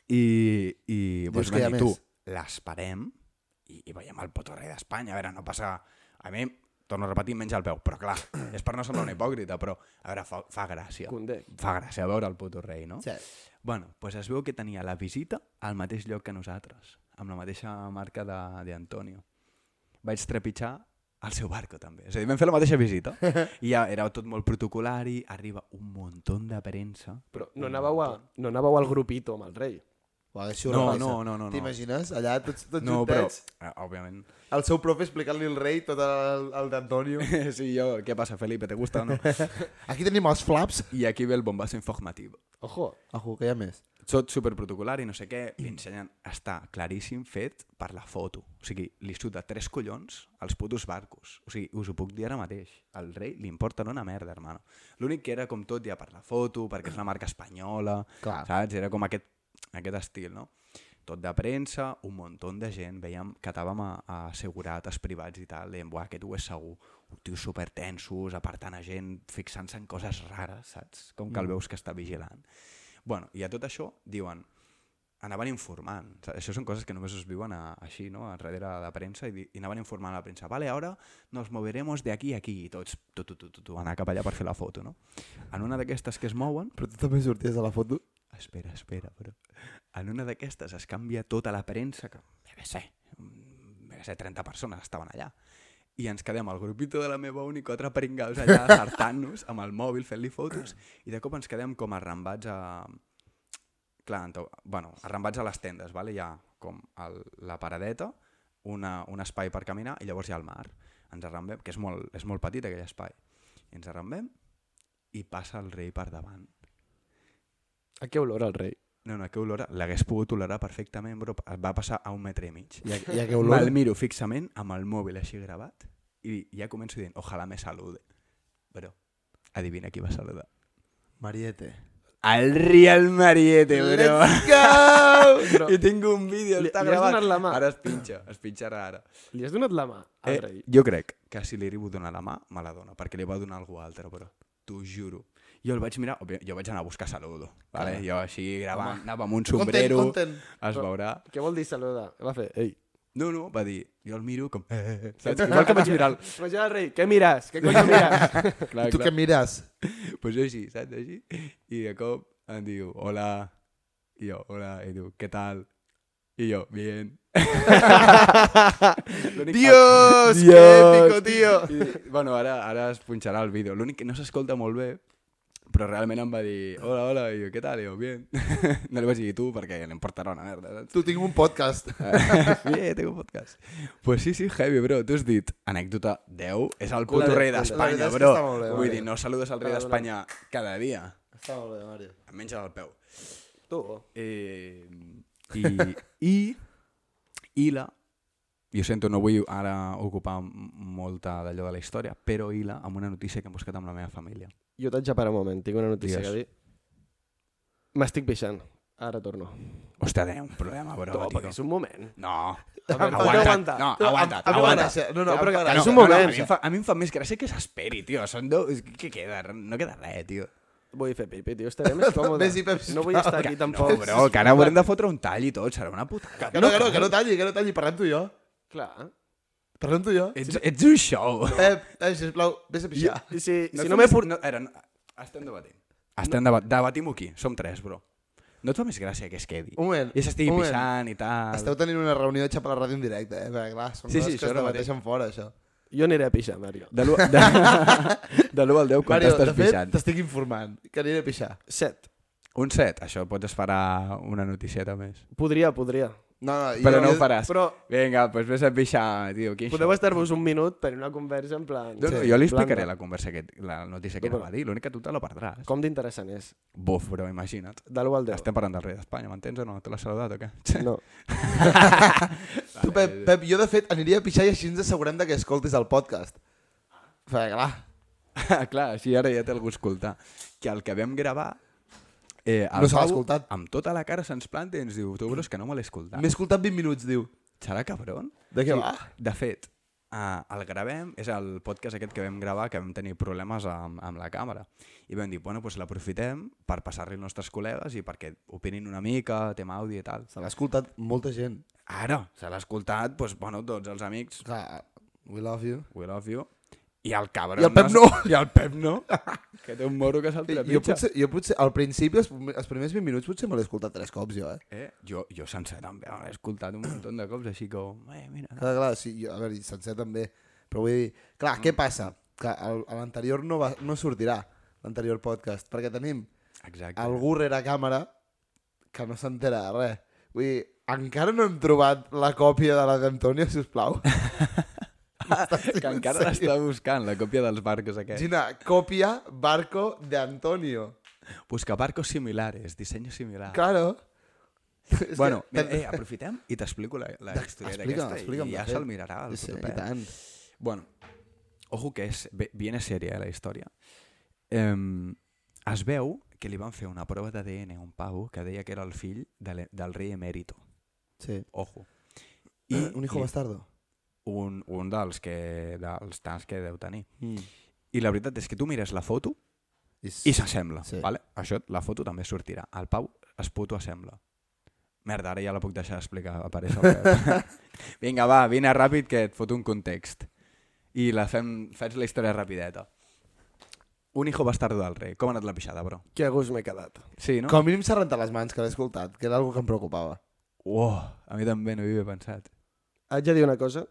S2: I, i doncs,
S1: que hi ha
S2: vam dir, tu,
S1: més.
S2: l'esperem i, i veiem el puto rei d'Espanya. A veure, no passa... A mi, torno a repetir, menys el peu. Però clar, és per no semblar un hipòcrita, però a veure, fa, fa gràcia.
S3: Condé.
S2: Fa gràcia veure el puto rei, no?
S1: Sí.
S2: Bueno, doncs es veu que tenia la visita al mateix lloc que nosaltres, amb la mateixa marca de- d'Antonio. Vaig trepitjar el seu barco, també. És a dir, vam fer la mateixa visita. I ja era tot molt protocolari, arriba un munt de premsa.
S3: Però no anàveu, a, no anàveu al grupito amb el rei.
S1: Uau, això
S2: No,
S1: ho repassa.
S2: no, no, no, no.
S1: T'imagines? Allà tots, tots
S2: No, però,
S1: juntets.
S2: eh, òbviament... [laughs]
S1: El seu profe explicant-li el rei tot el, el d'Antonio.
S2: sí, jo, què passa, Felipe, te gusta o no?
S1: Aquí tenim els flaps.
S2: I aquí ve el bombazo informatiu.
S3: Ojo,
S1: Ojo, que hi ha més.
S2: tot superprotocolari, no sé què, li ensenyen, està claríssim fet per la foto. O sigui, li suda tres collons als putos barcos. O sigui, us ho puc dir ara mateix. Al rei li importa no una merda, hermano. L'únic que era com tot ja per la foto, perquè és una marca espanyola,
S1: Clar.
S2: saps? Era com aquest, aquest estil, no? Tot de premsa, un munt de gent, veiem que estàvem a, a assegurates privats i tal, dèiem, buah, aquest ho és segur. Tios supertensos, apartant a gent, fixant-se en coses rares, saps? Com que el veus que està vigilant. Bueno, i a tot això diuen, anaven informant. O sigui, Això són coses que només es viuen a, així, no? A darrere de la premsa i, di- i anaven informant a la premsa. Vale, ahora nos moveremos de aquí a aquí. I tots, tu, tu, tu, tu, tu, anar cap allà per fer la foto, no? En una d'aquestes que es mouen...
S1: Però tu també sorties a la foto?
S2: Espera, espera, però... En una d'aquestes es canvia tota la premsa que... Bé, bé, sé, no sé, 30 persones estaven allà. I ens quedem al grupito de la meva uni, quatre pringaus allà acertant-nos amb el mòbil, fent-li fotos, i de cop ens quedem com arrambats a... Clar, ento... bueno, arrambats a les tendes, vale? hi ha com el, la paradeta, una, un espai per caminar, i llavors hi ha el mar. Ens arrambem, que és molt, és molt petit aquell espai. I ens arrambem, i passa el rei per davant.
S3: A què olora el rei?
S2: No, no, que olora, l'hagués pogut tolerar perfectament, però va passar a un metre i mig.
S1: I a, i a què olor?
S2: Me'l miro fixament, amb el mòbil així gravat, i ja començo dient, ojalà me salude. Però, adivina qui va saludar.
S1: Mariette.
S2: El Real Mariette, bro.
S1: Let's go!
S2: [laughs]
S3: Però
S2: I tinc un vídeo,
S3: Li-
S2: està
S3: li has
S2: gravat.
S3: donat la mà?
S2: Ara es pinxa, es pinxarà ara.
S3: li has donat la mà al
S2: Eh,
S3: rei?
S2: jo crec que si li arribo a donar la mà, me la dona, perquè li va donar algú altre, però t'ho juro. Jo el vaig mirar, òbvia- jo vaig anar a buscar saludo, vale? jo així gravant, anava amb un sombrero,
S1: Content,
S2: es veurà...
S3: Què vol dir saludar? Va fer, ei.
S2: No, no, va dir, jo el miro com...
S1: [laughs]
S2: Eh, eh, eh, saps? Igual que vaig mirar el...
S3: Imagina el rei, què mires? Què coño mires?
S2: Clar,
S1: content. Tu què mires?
S2: pues jo així, saps? Així. I de cop em diu, hola. I jo, hola. I diu, què tal? I jo, bien. [laughs] L'únic-
S1: Dios,
S2: Dios.
S1: qué épico, tío.
S2: I, bueno, ara, ara es punxarà el vídeo. L'únic que no s'escolta molt bé, però realment em va dir, hola, hola, i jo, què tal? I jo, bien. [laughs] no li vaig dir tu perquè l'emportarà una merda, saps?
S1: Tu tinc un podcast.
S2: [laughs] Bien, tengo podcast. Pues sí, sí, heavy, bro. Tu has dit, anècdota 10, és el puto
S3: veritat-
S2: rei
S1: la
S2: d'Espanya,
S1: veritat és que
S2: bro.
S1: està molt bé,
S2: Vull
S1: vale.
S2: dir, no saludes al rei
S3: Vale, vale.
S2: d'Espanya cada dia.
S1: [laughs] Està molt bé, Mario.
S2: Em menges el peu.
S3: Tu.
S2: Eh, I, i, i la, jo sento, no vull ara ocupar m- molta d'allò de la història, però i la, amb una notícia que hem buscat amb la meva família.
S3: Jo t'haig de parar un moment, tinc una notícia
S2: Digues.
S3: que dir. M'estic pixant. Ara torno.
S2: Hòstia, té un problema, bro.
S3: Top,
S2: tio.
S3: que és un moment.
S2: No,
S3: Em fa
S2: aguanta.
S3: aguantar.
S2: No,
S1: No,
S2: aguanta,
S1: em- em fa
S2: aguanta.
S1: gràcia. No, no, em fa
S2: que
S1: gràcia.
S3: És un moment,
S2: No, a, mi em fa, a mi em fa més gràcia que s'esperi, tio. Són dos... Què queda? No queda res, tio.
S3: Vull fer pipi, tio, estaré més còmode.
S1: Vés i pep, sisplau.
S3: no vull estar aquí tampoc.
S2: No, bro, que ara haurem de fotre un tall i tot. Serà una putada.
S1: Que no, que no, que no talli, que no talli. Parlem tu i jo.
S3: Clar.
S1: Parlem tu i jo.
S2: Ets, ets un show.
S1: Pep, eh, sisplau, vés a pixar.
S3: I si,
S2: No
S3: si
S2: et
S3: no
S2: fa
S3: m'he
S2: més-
S3: portat...
S2: No, era, no, estem debatent. Estem no. debat, debatim aquí. Som tres, bro. No et fa més gràcia que es quedi.
S1: Un moment,
S2: I s'estigui
S1: un moment.
S2: pixant i tal.
S1: Esteu tenint una reunió de xapa a la ràdio en directe, eh? Perquè, clar, són
S2: Sí,
S1: sí, coses sí,
S2: sí, això
S1: que es
S2: ara
S1: debateixen fora, això.
S3: Jo aniré a pixar, Mario.
S2: De l'1 de, de l'u al 10 quan
S1: Mario, de
S2: t'estàs
S1: fet,
S2: pixant.
S1: t'estic informant que aniré a pixar.
S3: Set.
S2: Un set, això pots esperar una noticieta més.
S3: Podria, podria.
S1: No, no, i
S2: Però no ho
S1: jo-
S2: faràs.
S3: Però
S2: Vinga, doncs vés a pixar, tio. Quin
S3: podeu
S2: show.
S3: estar-vos un minut, tenir una conversa en plan...
S2: No, no,
S1: Sí,
S2: Doncs jo li
S3: en plan
S2: explicaré
S3: de-
S2: la conversa que, la notícia que
S3: Però-
S2: anava a dir, l'únic que tu te la perdràs.
S3: Com d'interessant és?
S2: Buf, però imagina't.
S3: De l'1 al 10.
S2: Estem parlant del rei d'Espanya, m'entens o no? Te l'has saludat o què?
S3: No.
S1: Tu, Pep, Pep, jo de fet aniria a pixar i així ens assegurem de que escoltis el podcast. Perquè, clar,
S2: [laughs] Clar, així ara ja té algú a escoltar. Que el que vam gravar... Eh, el
S1: No se l'ha
S2: Pau,
S1: escoltat.
S2: Amb tota la cara se'ns planta i ens diu, tu, però és que no me l'he escoltat.
S1: m'he escoltat 20 minuts, diu.
S2: Serà cabron?
S1: De què va?
S2: De fet, eh, el gravem, és el podcast aquest que vam gravar, que vam tenir problemes amb, amb la càmera. I vam dir, bueno, doncs l'aprofitem per passar-li als nostres col·legues i perquè opinin una mica, tema àudio i tal.
S1: Se l'ha escoltat molta gent.
S2: Ara, se l'ha escoltat, doncs, bueno, tots els amics,
S1: Clar, we love you.
S2: we love you, i el cabron...
S1: I el Pep
S2: no! [laughs] I el Pep no! que té un moro que se'l trepitja.
S1: Jo potser, jo potser, al principi, els, els primers 20 minuts, potser me l'he escoltat tres cops, jo, eh?
S2: Eh? Jo, jo sencer també l'he escoltat un munt de cops, així com... Eh, mira,
S1: Clar, clar, sí, jo, a veure, i sencer també. Però vull dir, clar,
S2: Mm.
S1: què passa? Que el- a l'anterior no, va, no sortirà, l'anterior podcast, perquè tenim
S2: exacte.
S1: algú rere càmera que no s'entera de res. Vull dir, encara no hem trobat la còpia de la d'Antonio,
S2: [laughs]
S1: sisplau.
S2: que encara l'està buscant, la còpia dels barcos aquests.
S1: Gina, còpia barco de Antonio.
S2: Busca barcos similares, disseny similar.
S1: Claro.
S2: Ah.
S1: [laughs]
S2: Bueno, mira, eh, aprofitem i t'explico la, la història
S1: Explica,
S2: aquesta
S1: explica'm.
S2: i ja se'l mirarà. El
S1: sí,
S2: puto
S1: i
S2: Pep.
S1: tant.
S2: Bueno, ojo que és, ve- viene sèria eh, la història. Um, es veu que li van fer una prova d'ADN a un pavo que deia que era el fill de l'e- del rei emèrito.
S1: Sí.
S2: Ojo.
S1: I, un hijo
S2: li-
S1: bastardo.
S2: un, un dels, que, dels tants que deu tenir.
S1: Mm.
S2: I la veritat és que tu mires la foto i s'assembla. Sí.
S1: Sí.
S2: Vale? Això, la foto també sortirà. El Pau es puto assembla. Merda, ara ja la puc deixar d'explicar. Apareix el Pep. Vinga, va, vine ràpid que et foto un context. I la fem, faig la història rapideta. Un hijo bastardo del rei. Com ha anat la pixada, bro?
S3: Que a gust m'he quedat.
S2: Sí, no?
S1: Com a mínim s'ha rentat les mans, que l'he escoltat, que era algo que em preocupava.
S2: Uau, a mi també no hi havia pensat.
S3: Haig de dir una cosa.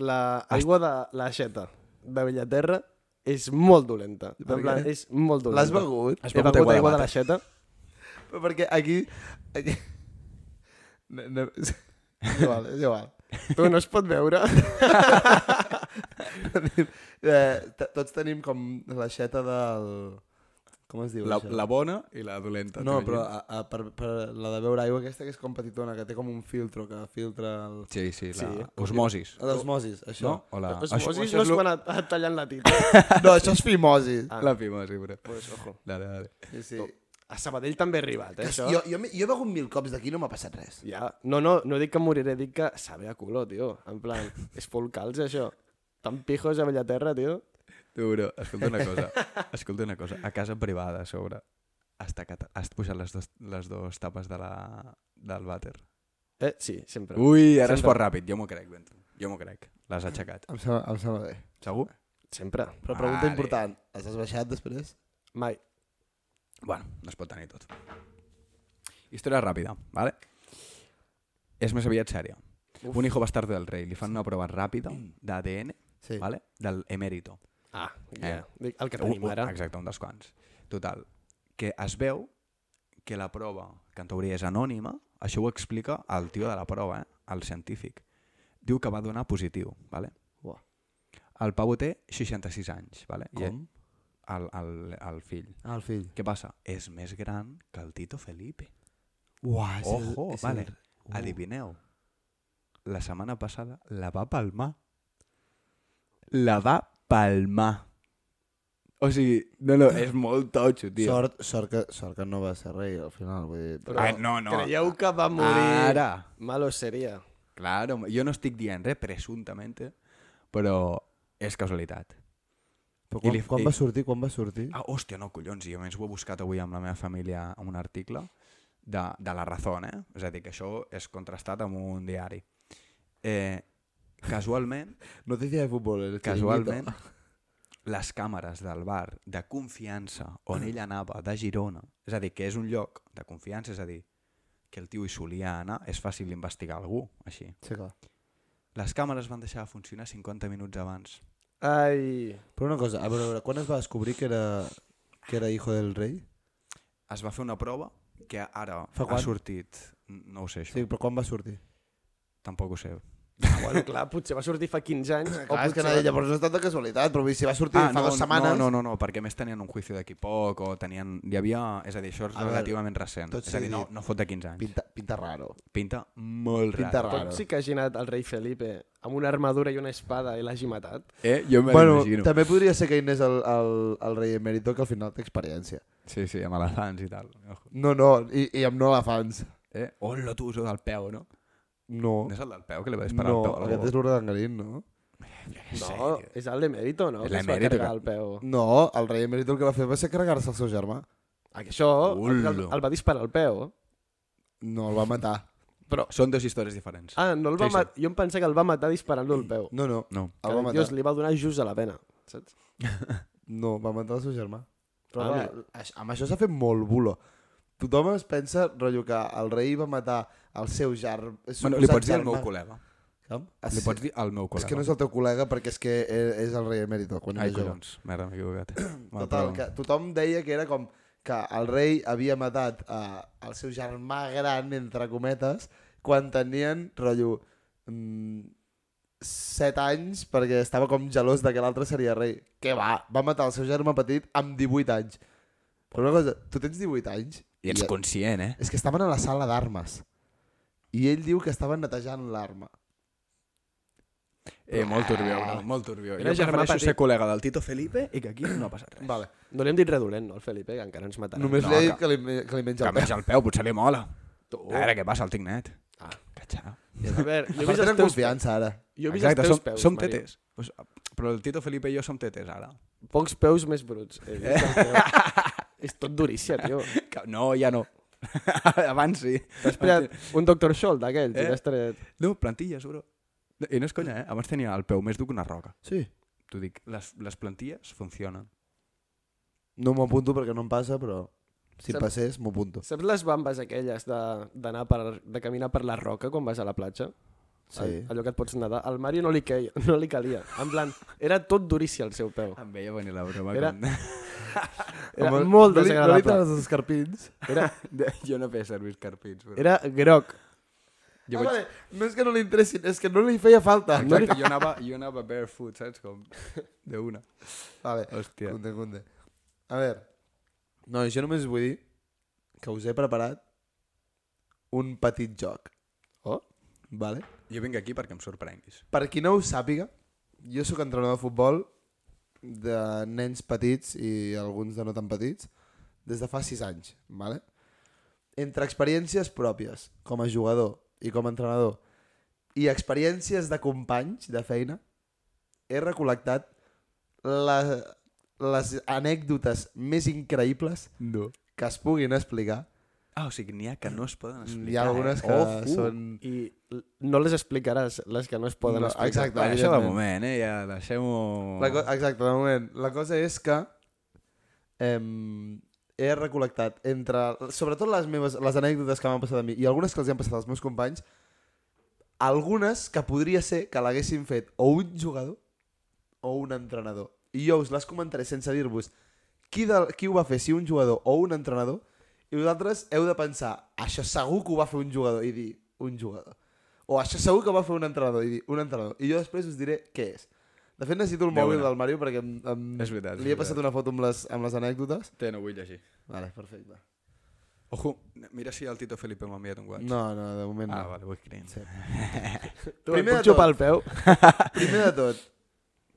S3: L'aigua de l'aixeta de Bellaterra és molt dolenta.
S1: Per
S3: En plan,
S1: què?
S3: és molt dolenta.
S1: L'has begut?
S2: Has
S3: He
S2: begut
S3: begut
S2: aigua
S3: aigua,
S2: de
S3: de
S2: mata.
S3: l'aixeta.
S1: Però perquè aquí... aquí... No, no... És [laughs] igual, és igual. [laughs]
S3: Tu no es pot veure.
S1: eh, t- tots tenim com l'aixeta del... Com es diu?
S2: La,
S1: això?
S2: la bona i la dolenta.
S1: No,
S2: t'imagines?
S1: però a, a, per, per la de beure aigua aquesta que és com petitona, que té com un filtro que filtra el...
S2: Sí, sí, la...
S3: Sí.
S2: Osmosis.
S1: L'osmosis, això.
S2: No? O la...
S3: Osmosis
S2: Ah, Això-
S3: no
S2: això
S3: és,
S2: lo-
S3: quan et, et tallen la tita.
S1: No, això és fimosis.
S3: Ah.
S2: La fimosi, bro.
S3: pues, ojo.
S2: Dale, dale.
S1: Sí, sí.
S3: A Sabadell també ha arribat, eh, això.
S1: Jo, jo, m'he- jo he begut mil cops d'aquí i no m'ha passat res.
S3: Ja. No, no, no dic que moriré, dic que sabe a culo, tio. En plan, és full calze, això. Tan pijos a Bellaterra, tio.
S2: Tu, bro, escolta una [laughs] cosa. Escolta una cosa. A casa privada, a sobre, has, tacat, has pujat les dos, les dos tapes de la, del vàter.
S3: Eh, sí, sempre.
S2: Ui, ara es
S3: Sempre.
S2: pot ràpid. Jo m'ho crec, Bento. Jo m'ho crec. L'has aixecat.
S1: Em sembla, em sembla bé.
S2: Segur?
S3: Sempre.
S1: Però pregunta
S2: Vale.
S1: important, les has baixat després?
S3: Mai.
S2: Bueno, no es pot tenir tot. Història ràpida, vale? És més aviat sèria. Uf. Un hijo bastardo del rei. Li fan una prova ràpida d'ADN,
S1: Sí.
S2: vale? Del emèrito.
S3: Ah,
S2: ja.
S3: ja. Dic, el que
S2: Un-
S3: tenim
S2: un-
S3: ara.
S2: Exacte, un dels quants. Total, que es veu que la prova, que en teoria és anònima, això ho explica el tio de la prova, eh? el científic. Diu que va donar positiu, vale?
S3: Uah.
S2: El Pau té 66 anys, vale? I
S1: Com?
S2: El, el, el fill.
S1: eh? Ah, el fill.
S2: Què passa? És més gran que el Tito Felipe.
S1: Uah, és el-
S2: Ojo,
S1: és el-
S2: vale.
S1: Uh.
S2: Adivineu. La setmana passada la va palmar. La va palmar. O sigui, no, no, és molt totxo, tio.
S1: Sort, sort, que, sort que no va ser rei al final. Vull dir...
S3: Però
S2: Ah, no, no.
S3: creieu que va morir...
S2: Ara.
S3: Malo seria.
S2: Claro, jo no estic dient res, presumptament, però és casualitat.
S1: Però
S2: I
S1: quan,
S2: li-
S1: quan
S2: i-
S1: va sortir? Quan va sortir?
S2: Ah, hòstia, no, collons, i a més ho he buscat avui amb la meva família en un article de, de La Razón, eh? És a dir, que això és contrastat amb un diari. Eh, [laughs] casualment,
S1: Notícia de futbol. El
S2: casualment, les càmeres del bar de confiança on ell anava, de Girona, és a dir, que és un lloc de confiança, és a dir, que el tio hi solia anar, és fàcil investigar algú, així.
S1: Sí, clar.
S2: Les càmeres van deixar de funcionar 50 minuts abans.
S3: Ai...
S1: Però una cosa, a veure, a veure, quan es va descobrir que era, que era hijo del rei?
S2: Es va fer una prova que ara
S1: Fa
S2: ha
S1: quan?
S2: sortit... No ho sé, això.
S1: Sí, però quan va sortir?
S2: Tampoc ho sé.
S3: Ah, bueno, clar, potser va sortir fa 15 anys.
S1: Oh,
S3: o potser...
S1: llavors no ha estat de casualitat, però si va sortir
S2: Ah, No, no, no, no, perquè a més tenien un juici d'aquí poc o tenien... Hi havia... És a dir, això és
S1: A veure,
S2: relativament recent.
S1: tot
S2: És a dir,
S1: sigui
S2: no,
S1: dit.
S2: no fot de 15 anys.
S1: Pinta, pinta raro.
S2: Pinta molt
S1: Pinta
S2: raro.
S1: raro.
S3: Pot ser que hagi anat el rei Felipe amb una armadura i una espada i l'hagi matat?
S2: Eh? Jo me
S1: Bueno,
S2: l'imagino.
S1: també podria ser que Inés el, el, el rei emèrito, que al final té experiència.
S2: Sí, sí, amb elefants i tal. Ojo.
S1: No, no, i, i amb no elefants.
S2: Eh? Hola, tu, això del peu, no?
S1: No,
S2: No és el del peu que li va disparar
S1: Oh. no,
S2: el peu a
S1: aquest és
S2: algú? eh?
S1: l'Urdangarín, no?
S2: Sí,
S3: No,
S2: tio.
S3: és el de mèrito, no?
S2: És
S3: Que es va
S2: l'emèrito,
S3: carregar
S2: que- Mm.
S3: el peu.
S1: No, el rei emèrito el que va fer va ser carregar-se el seu germà.
S3: Ah, que Això, el, el,
S2: Ullo.
S3: el va disparar al peu.
S1: No, el va matar.
S2: Però són dues històries diferents.
S3: Ah, no el va
S2: Sí, sí.
S3: matar. Jo em pensava que el va matar disparant-lo al peu.
S1: No, no,
S2: No.
S1: el va
S3: Que
S1: matar.
S3: Dios li va donar just a la vena, saps?
S1: No, va matar el seu germà. Però
S3: Ah,
S1: ah,
S3: mira.
S1: amb això s'ha fet molt bulo. Tothom es pensa, rotllo, que el rei va matar el seu jar...
S2: Bueno, li pots dir al meu col·lega.
S1: Com?
S2: Li pots dir al meu
S1: Ah, És
S2: col·lega.
S1: que no és el teu col·lega perquè és que e- és el rei emèrito. Quan
S2: Ai,
S1: era jove.
S2: collons. Merda, m'he equivocat. Bueno,
S1: Total,
S2: però-
S1: que tothom deia que era com que el rei havia matat eh, el seu germà gran, entre cometes, quan tenien, rotllo, mm, set anys perquè estava com gelós de que l'altre seria rei. Que va, va matar el seu germà petit amb 18 anys. Però una cosa, tu tens 18 anys?
S2: I ets conscient, eh?
S1: És que estaven a la sala d'armes. I ell diu que estaven netejant l'arma.
S2: Eh, molt turbio, bro, molt turbio.
S3: Era
S2: jo
S3: germà
S2: prefereixo
S3: petit.
S2: ser col·lega del Tito Felipe i que aquí no ha passat res.
S1: Vale.
S3: No li hem dit res dolent, no, al Felipe, que encara ens matarà.
S1: Només
S2: no,
S1: no, li ha
S2: que-
S1: dit que li, que li menja
S2: Que
S1: el pes.
S2: menja el peu, potser li mola.
S3: Tu.
S2: A veure què passa al tic net.
S3: Oh. Ah.
S2: Cachà.
S3: A veure, jo he
S1: Jo
S3: vist els
S1: tenen
S3: teus,
S1: confiança, ara.
S3: jo he vist
S2: Exacte,
S3: els teus
S2: som,
S3: peus,
S2: som
S3: Mario.
S2: tetes. Pues, però el Tito Felipe i jo som tetes, ara. [laughs]
S3: Pocs peus més bruts. He vist el teu. És tot duríssia, tio.
S2: Que- No, ja no. [laughs] Abans sí.
S3: T'has pres un Dr. Scholl d'aquell, eh? t'has tret...
S2: No, plantilles, bro. I no és conya, eh? Abans tenia el peu més dur que una roca.
S1: Sí.
S2: T'ho dic, les, les plantilles funcionen.
S1: No m'ho apunto perquè no em passa, però si em
S3: Sem-
S1: passés, m'ho apunto.
S3: Saps les bambes aquelles de- d'anar per, de caminar per la roca quan vas a la platja?
S1: Sí.
S3: allò que et pots nedar. Al Mario no li, queia, no li calia. En plan, era tot duríssim el seu peu.
S2: Em veia venir la broma.
S3: Era-
S2: Com...
S3: Era molt
S1: no li, no li
S3: desagradable.
S1: trenes els escarpins.
S2: Era... [laughs] jo no feia servir escarpins. Però...
S3: Era groc.
S2: Jo
S1: ah,
S2: vaig...
S1: vale. No és que no li interessin, és que no li feia falta. No li...
S2: Exacte, jo anava, jo anava barefoot, saps? Com de una.
S1: Vale,
S2: Hòstia.
S1: conte, conte. A veure, no, jo només vull dir que us he preparat un petit joc.
S3: Oh?
S1: Vale?
S2: Jo vinc aquí perquè em sorprenguis.
S1: Per qui no ho sàpiga, jo sóc entrenador de futbol de nens petits i alguns de no tan petits des de fa 6 anys, vale? Entre experiències pròpies com a jugador i com a entrenador i experiències de companys de feina, he recol·lectat la, les anècdotes més increïbles
S2: No.
S1: que es puguin explicar.
S2: Ah, o sigui, n'hi ha que no es poden explicar.
S1: Hi ha algunes
S2: eh?
S1: que
S2: Oh, fu.
S1: Ah, són...
S3: I l- no les explicaràs, les que no es poden
S1: No,
S3: explicar.
S1: exacte.
S2: Bueno, això de
S1: evidentment.
S2: moment, eh? Ja deixem-ho...
S1: La co- exacte, de moment. La cosa és que em, he recol·lectat entre, sobretot les meves, les anècdotes que m'han passat a mi i algunes que els han passat als meus companys, algunes que podria ser que l'haguessin fet o un jugador o un entrenador. I jo us les comentaré sense dir-vos qui, de, qui ho va fer, si un jugador o un entrenador, i vosaltres heu de pensar, això segur que ho va fer un jugador, i dir, un jugador. O això segur que ho va fer un entrenador, i dir, un entrenador. I jo després us diré què és. De fet, necessito el
S2: De
S1: mòbil
S2: una.
S1: del Mario perquè em, em,
S2: És veritat, és
S1: li he
S2: veritat.
S1: passat una foto amb les, amb les anècdotes.
S2: Té, no vull llegir.
S1: Vale, perfecte.
S2: Ojo, mira si el Tito Felipe m'ha enviat un whats.
S1: No, no, de moment
S2: Ah,
S1: no.
S2: vale, ho escric.
S1: Sí.
S3: Tu
S1: Primer
S3: Primer
S1: de
S3: puc xupar el peu.
S1: Primer de tot,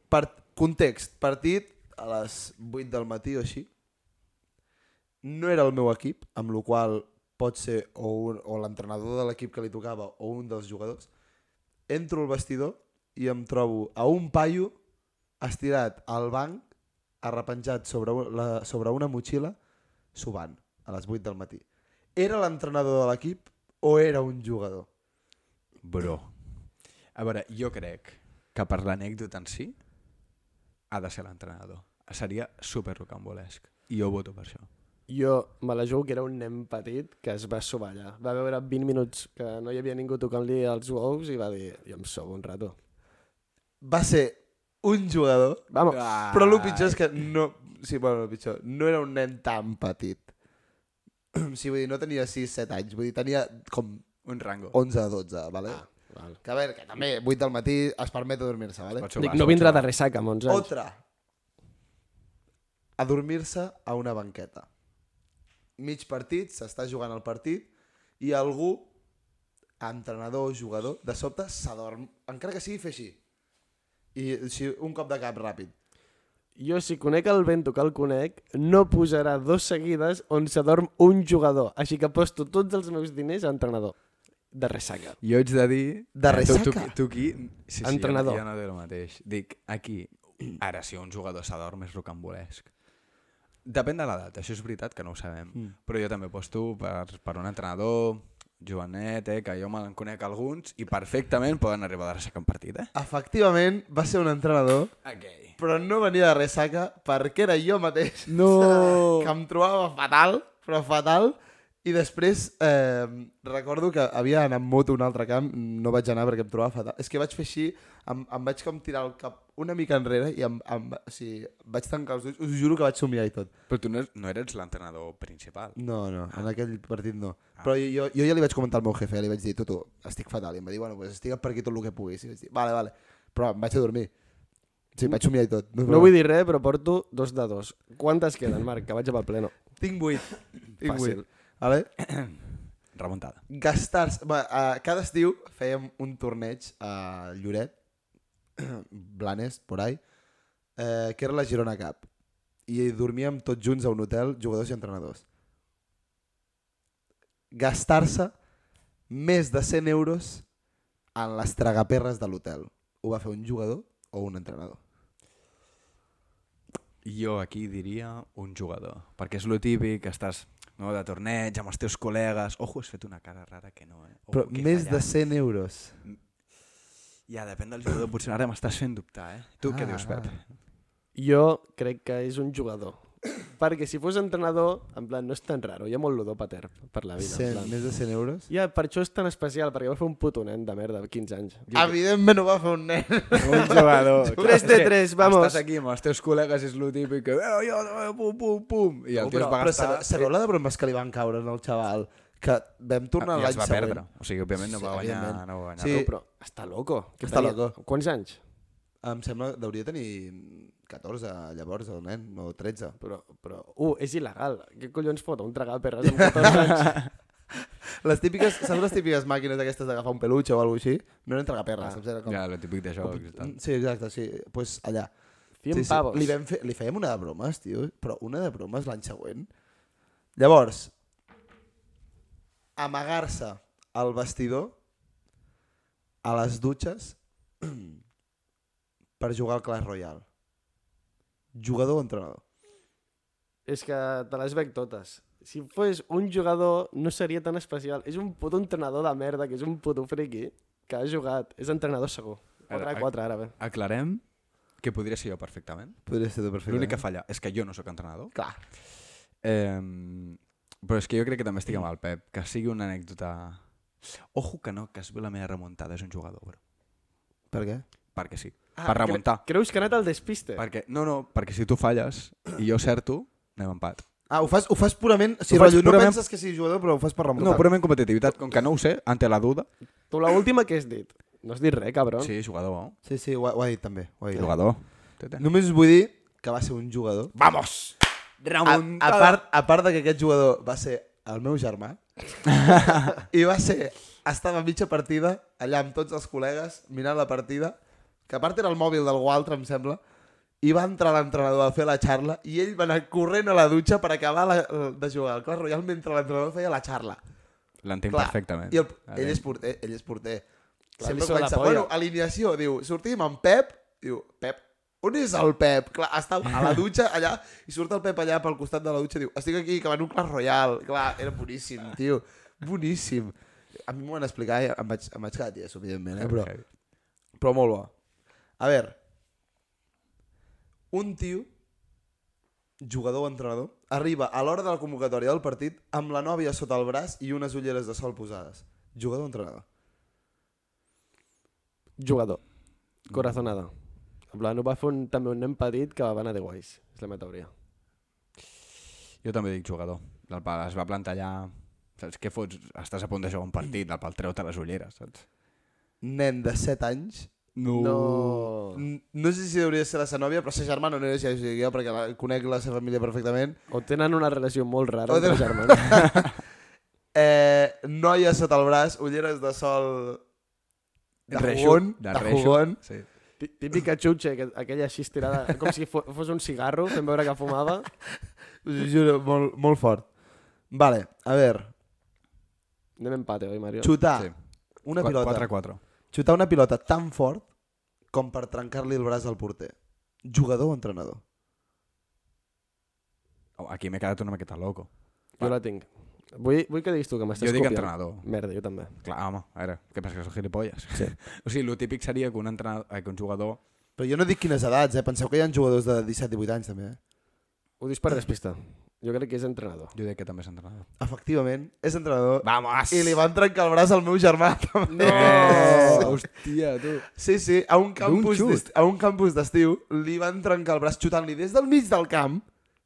S1: part, context, partit a les 8 del matí o així. No era el meu equip, amb la qual cosa pot ser o, un, o l'entrenador de l'equip que li tocava o un dels jugadors. Entro al vestidor i em trobo a un paio estirat al banc, arrepenjat sobre, u- la, sobre una motxilla, subant a les 8 del matí. Era l'entrenador de l'equip o era un jugador?
S2: Bro. A veure, jo crec que per l'anècdota en si ha de ser l'entrenador. Seria super rocambolesc. I jo voto per això.
S3: Jo me la jugo que era un nen petit que es va sobar allà. Va veure 20 minuts que no hi havia ningú tocant-li els ous i va dir, jo em sobo un rato.
S1: Va ser un jugador
S3: Vamos.
S1: Però el pitjor és que no... Sí, bueno, el pitjor. No era un nen tan petit. [clears throat] Sí, vull dir, no tenia 6-7 anys. Vull dir, tenia com
S2: Un rango.
S1: 11-12, vale?
S3: Ah, val.
S1: Que a veure, que també 8 del matí es permet adormir-se, vale?
S2: Pots
S3: Dic,
S2: jugar,
S3: no
S2: pots
S3: vindrà
S2: jugar.
S3: de ressaca amb 11 anys.
S1: Otra. Adormir-se a una banqueta. Mig partit, s'està jugant el partit i algú, entrenador o jugador, de sobte s'adorm, encara que sigui fer així. I així, un cop de cap ràpid.
S3: Jo, si conec el vento que el conec, no posarà dos seguides on s'adorm un jugador. Així que aposto tots els meus diners a entrenador. De ressaca.
S2: Jo haig de dir...
S1: De
S2: Tu, tu,
S1: ressaca.
S2: tu aquí... Sí, sí,
S3: Entrenador.
S2: Jo, jo no diré el mateix. Dic, aquí, ara si un jugador s'adorm és rocambolesc. Depèn de l'edat, això és veritat que no ho sabem. Mm. Però jo també posto per, per un entrenador, jovenet, eh, que jo me'n conec alguns, i perfectament poden arribar de ressaca en partit, eh?
S1: Efectivament, va ser un entrenador
S2: Okay.
S1: però no venia de ressaca perquè era jo mateix
S2: No!
S1: [laughs] que em trobava fatal, però fatal i després eh, recordo que havia d'anar amb moto a un altre camp no vaig anar perquè em trobava fatal és que vaig fer així, em, em vaig com tirar el cap una mica enrere i em, em, o sigui, vaig tancar els ulls, us juro que vaig somiar i tot
S2: Però tu no, no eres l'entrenador principal.
S1: no, no, en aquell partit no però jo, jo ja li vaig comentar al meu jefe li vaig dir, tu, tu, estic fatal i em va dir, bueno, pues estic per aquí tot el que puguis i vaig dir, vale, vale, però em vaig a dormir sí, vaig somiar i tot
S3: No vull dir res, però porto dos de dos. Quantes queden, Marc? Que vaig amb el pleno.
S1: Tinc 8. Tinc
S3: Fàcil.
S1: 8. Vale?
S2: Remuntada.
S1: Gastar-se... Va, eh, cada estiu fèiem un torneig a Lloret, [clears throat] Blanes, por ahí, eh, que era la Girona Cup. I dormíem tots junts a un hotel, jugadors i entrenadors. Gastar-se més de 100 euros en les tragaperres de l'hotel. Ho va fer un jugador o un entrenador?
S2: Jo aquí diria un jugador, perquè és lo típic, estàs no, de torneig amb els teus col·legues. Ojo, has fet una cara rara que no,
S3: Oh,
S2: eh? Ojo,
S1: Però
S2: que he
S1: més de
S2: fallat.
S1: 100 euros.
S2: Ja, depèn del jugador, potser ara m'estàs fent dubtar, eh? Tu què
S1: Ah,
S2: dius, Pep?
S3: Jo crec que és un jugador. perquè si fos entrenador, en plan, no és tan raro, hi ha molt ludó pater per la vida. En
S1: 100,
S3: plan.
S1: més de 100 euros?
S3: Ja, per això és tan especial, perquè va fer un puto nen de merda, 15 anys.
S1: Evidentment ho va fer un nen.
S2: Un jugador.
S3: Tres de
S2: És que
S3: tres, vamos.
S2: Estàs aquí amb els teus col·legues, és lo típic. que, Eh, jo, eh, pum, pum, pum. I el
S1: No,
S2: tio es va
S1: però
S2: gastar...
S1: sabeu, sabeu la de bromes que li van caure al xaval? Que vam tornar
S2: I
S1: l'any
S2: Ah, es va
S1: següent.
S2: perdre. O sigui, òbviament no
S1: Sí,
S2: va guanyar,
S1: evidentment.
S2: no va guanyar.
S1: Sí.
S2: res.
S3: No, però està loco. Que
S1: Està
S3: tenia-
S1: loco.
S3: Quants anys?
S1: Em sembla que hauria de tenir 14 llavors, el nen, o 13.
S3: Però, però, uh, és il·legal. Què collons fot? Un tragar perres amb
S1: [laughs]
S3: 14 anys?
S1: Les típiques, saps les típiques màquines aquestes d'agafar un peluche o alguna així? No eren tragaperres, ah. em sembla com...
S2: Ja, lo típic de jocs i tal.
S1: Sí, exacte, sí. Doncs pues allà.
S3: 100
S1: sí, sí.
S3: pavos.
S1: Li, vam fer, li fèiem una de bromes, tio, però una de bromes l'any següent. Llavors, amagar-se al vestidor, a les dutxes, [clears throat] per jugar al Clash Royale. Jugador o entrenador?
S3: És que te les veig totes. Si fos un jugador, no seria tan especial. És un puto entrenador de merda, que és un puto friki, que ha jugat. És entrenador segur. 4 a
S2: Ara,
S3: 4, ara bé.
S2: Aclarem que podria ser jo perfectament.
S1: Podria ser tu
S2: L'única
S1: perfectament.
S2: falla és que jo no sóc entrenador.
S1: eh? Clar.
S2: Eh, però és que jo crec que també estic amb el Pep. Que sigui una anècdota... Ojo que no, que es ve la meva remuntada, és un jugador, bro.
S1: Per què?
S2: Perquè sí. Ah, per remuntar.
S3: Cre creus que ha anat al despiste? Per...
S2: Perquè, no, no, perquè si tu falles i jo certo, anem a empat.
S1: Ah, ho fas, ho fas purament... O sigui,
S2: Ho faig
S1: rotllo, no
S2: purament-
S1: penses que sigui jugador, però ho fas per remuntar.
S2: No, purament competitivitat. Com que no ho sé, ante la duda...
S3: Tu l'última que has dit. No has dit res, cabron.
S2: Sí, jugador, no?
S1: Sí, sí, ho, ha- ho ha dit també. Ho ha dit.
S2: Jugador.
S1: Només us vull dir que va ser un jugador.
S2: Vamos!
S1: A, a, part, a part de que aquest jugador va ser el meu germà, i va ser... Estava a mitja partida, allà amb tots els col·legues, mirant la partida, que a part era el mòbil d'algú altre, em sembla, i va entrar l'entrenador a fer la xarla i ell va anar corrent a la dutxa per acabar la, de jugar al Clash Royale mentre l'entrenador feia la xarla.
S2: L'entenc
S1: Clar,
S2: perfectament.
S1: I el,
S2: Ara,
S1: ell és porter, ell és porter.
S3: Clar, li
S1: Sempre
S3: sona la
S1: pensa,
S3: polla.
S1: bueno, alineació, diu, sortim amb Pep, diu, Pep, on és el Pep? Clar, està a la dutxa allà, i surt el Pep allà pel costat de la dutxa, diu, estic aquí, que va en un Clash Royale. Clar, era boníssim, tio, boníssim. A mi m'ho van explicar i em vaig, em vaig quedar ties, evidentment, eh, però,
S2: heavy.
S1: però molt bo. A veure, un tio, jugador o entrenador, arriba a l'hora de la convocatòria del partit amb la nòvia sota el braç i unes ulleres de sol posades. Jugador o entrenador?
S3: Jugador. Corazonada. En plan, ho va fer un, també un nen petit que va anar de guais. És la meva teoria.
S2: Jo també dic jugador. El pal es va plantallar... Saps què fots? Estàs a punt de jugar un partit, el pal treu-te les ulleres, saps?
S1: Nen de 7 anys.
S3: Uh.
S2: No. Oh.
S3: No...
S1: N- No sé si hauria de ser la seva nòvia, però sa germana no era ja jo, perquè la, conec la seva família perfectament.
S3: O tenen una relació molt rara
S1: O
S3: entre
S1: tenen-
S3: germans.
S1: Eh, noia sota el braç, ulleres de sol... De
S2: Reixo,
S1: jugon,
S2: de
S1: de,
S2: reixo.
S1: jugon.
S2: Sí.
S3: Tí- Típica xutxa, que- aquella així estirada, com si fo- fos un cigarro, fent veure que fumava.
S1: Us ho juro, molt, molt fort. Vale, a veure,
S3: Anem empate, oi, Mario?
S1: xutar
S2: Sí.
S1: una pilota.
S2: 4-4.
S1: Xutar una pilota tan fort com per trencar-li el braç al porter. Jugador o entrenador?
S2: Oh, Aquí m'he quedat una miqueta loco.
S3: Jo la tinc. Vull, vull que diguis tu, que m'estàs
S2: Jo dic
S3: copiant.
S2: entrenador.
S3: Merda, jo també.
S2: Clar, home, a veure, què passa, que sóc gilipolles? Sí. [laughs] o sigui, el típic seria que un, entrenador, eh, que un jugador...
S1: Però jo no dic quines edats, eh? Penseu que hi ha jugadors de 17-18 anys, també, eh?
S3: Ho dius per despista. Jo crec que és entrenador.
S2: Jo dic que també és entrenador.
S1: Efectivament, és entrenador.
S2: Vamos!
S1: I li van trencar el braç al meu germà, també.
S3: No!
S1: [laughs]
S3: Oh!
S2: Eh, hòstia, tu.
S1: Sí, sí, a un campus
S2: xut.
S1: d'est- a un campus d'estiu li van trencar el braç xutant-li des del mig del camp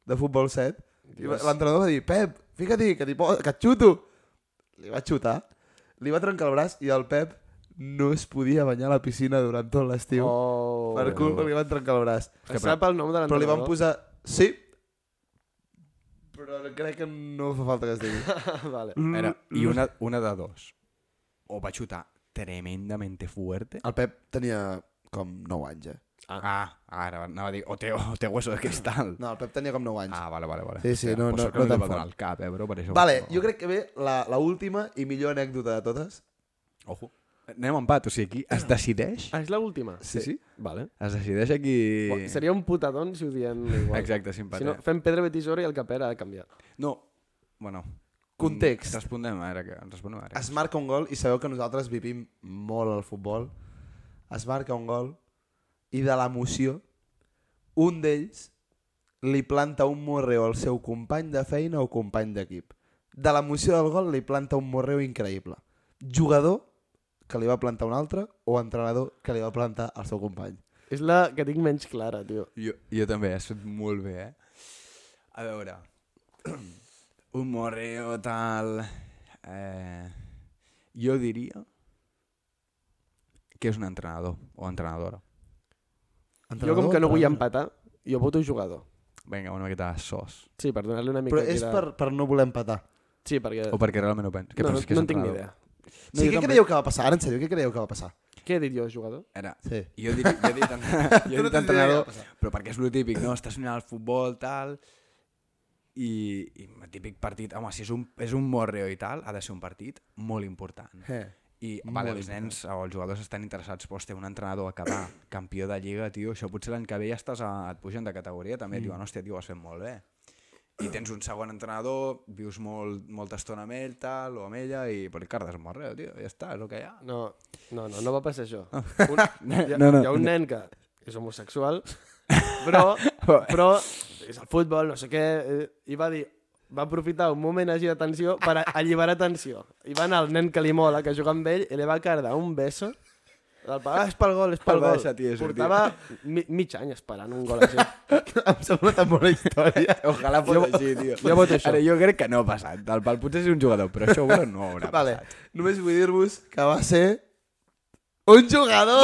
S1: de futbol 7. I va- l'entrenador va dir, Pep, fica-t'hi, que, t'hi po- que et xuto. Li va xutar, li va trencar el braç i el Pep no es podia banyar a la piscina durant tot l'estiu.
S3: Oh.
S1: Per culpa li van trencar el braç.
S3: Es sap el nom de l'entrenador?
S1: Però li van posar... Sí, però crec que no fa falta que es digui.
S3: [laughs] vale.
S1: Mm.
S2: Era, I una, una de dos. O va xutar tremendamente fuerte.
S1: El Pep tenia com 9 anys, eh?
S2: Ah, ara anava a dir, o te, o te hueso de cristal.
S1: No, el Pep tenia com 9 anys.
S2: Ah, vale, vale, vale.
S1: Sí, sí,
S2: Hòstia,
S1: no,
S2: pues
S1: no-
S2: sort que
S1: no
S2: li
S1: tan
S2: va donar
S1: fort.
S2: al cap, eh, bro, per això.
S1: Vale, jo crec que ve la, la última i millor anècdota de totes.
S2: Ojo. Anem a empat, o sigui, aquí es decideix...
S3: Ah, és l'última?
S2: Sí, sí.
S3: Vale.
S2: Es decideix aquí...
S3: Bo, Seria un putadón si ho diem igual.
S2: Exacte, si
S3: Si
S2: empatem.
S3: no, fem pedra, bé, tisora i el cap era de canviar.
S2: No, bueno...
S1: Context.
S2: Respondem ara, que ens respondem ara.
S1: Es marca un gol i sabeu que nosaltres vivim molt el futbol. Es marca un gol i de l'emoció un d'ells li planta un morreu al seu company de feina o company d'equip. De l'emoció del gol li planta un morreu increïble. Jugador que li va plantar un altre o entrenador que li va plantar al seu company.
S3: És la que tinc menys clara, tio.
S2: Jo, jo també, has fet molt bé, eh? A veure... [clears throat] Un morreo tal... Eh, jo diria que és un entrenador o entrenadora.
S3: Jo com que no vull empatar, jo voto jugador.
S2: Vinga, una miqueta de sos.
S3: Sí, per donar-li una mica...
S1: Però
S3: aquí
S1: és
S3: de-
S1: per, per no voler empatar.
S3: Sí, perquè...
S2: O perquè realment ho penso. Què
S3: no, no,
S2: penses Oh, que és
S3: no en tinc ni
S2: entrenador?
S3: idea.
S1: No, sí, què creieu que va passar? Ara, en sèrio, què creieu que va passar?
S3: Què he dit jo, jugador?
S2: Era,
S1: Sí.
S2: jo, dic, jo he dit, en... jo he
S1: no tens idea què
S2: dit
S1: va
S2: entrenador,
S1: passar.
S2: però perquè és lo típic, no? Estàs mirant el futbol, tal, i, i el típic partit, home, si és un, és un morreo i tal, ha de ser un partit molt important.
S1: Eh.
S2: I
S1: Molt
S2: vale, els nens o els jugadors estan interessats, però hòstia, un entrenador acabar campió de Lliga, tio, això potser l'any que ve ja estàs a, et pugen de categoria també,
S1: Mm.
S2: et diuen, hòstia, tio, ho has fet molt bé. I tens un segon entrenador, vius molt, molta estona amb ell, tal, o amb ella, i per cardes morreo, tio, ja està, és el que hi ha.
S3: No, no, no, no va passar això. Un, hi, ha,
S2: No, no.
S3: hi ha un nen que és homosexual, però, però és el futbol, no sé què, eh, i va dir va aprofitar un moment així de tensió per a- alliberar tensió. I va anar el nen que li mola, que juga amb ell, i li va cardar un beso del pal, ah, és pel gol, és pel
S2: El va
S3: gol.
S2: deixar, tio, sortir.
S3: Portava mi, mig any esperant un gol així.
S1: [laughs] em sembla tan bona història.
S2: Ojalà fos
S3: Jo-
S2: així, tio.
S3: jo voto això.
S2: Ara, jo crec que no ha passat. El Pal potser és un jugador, però això bueno, no haurà
S1: Vale,
S2: passat.
S1: només vull dir-vos que va ser un jugador.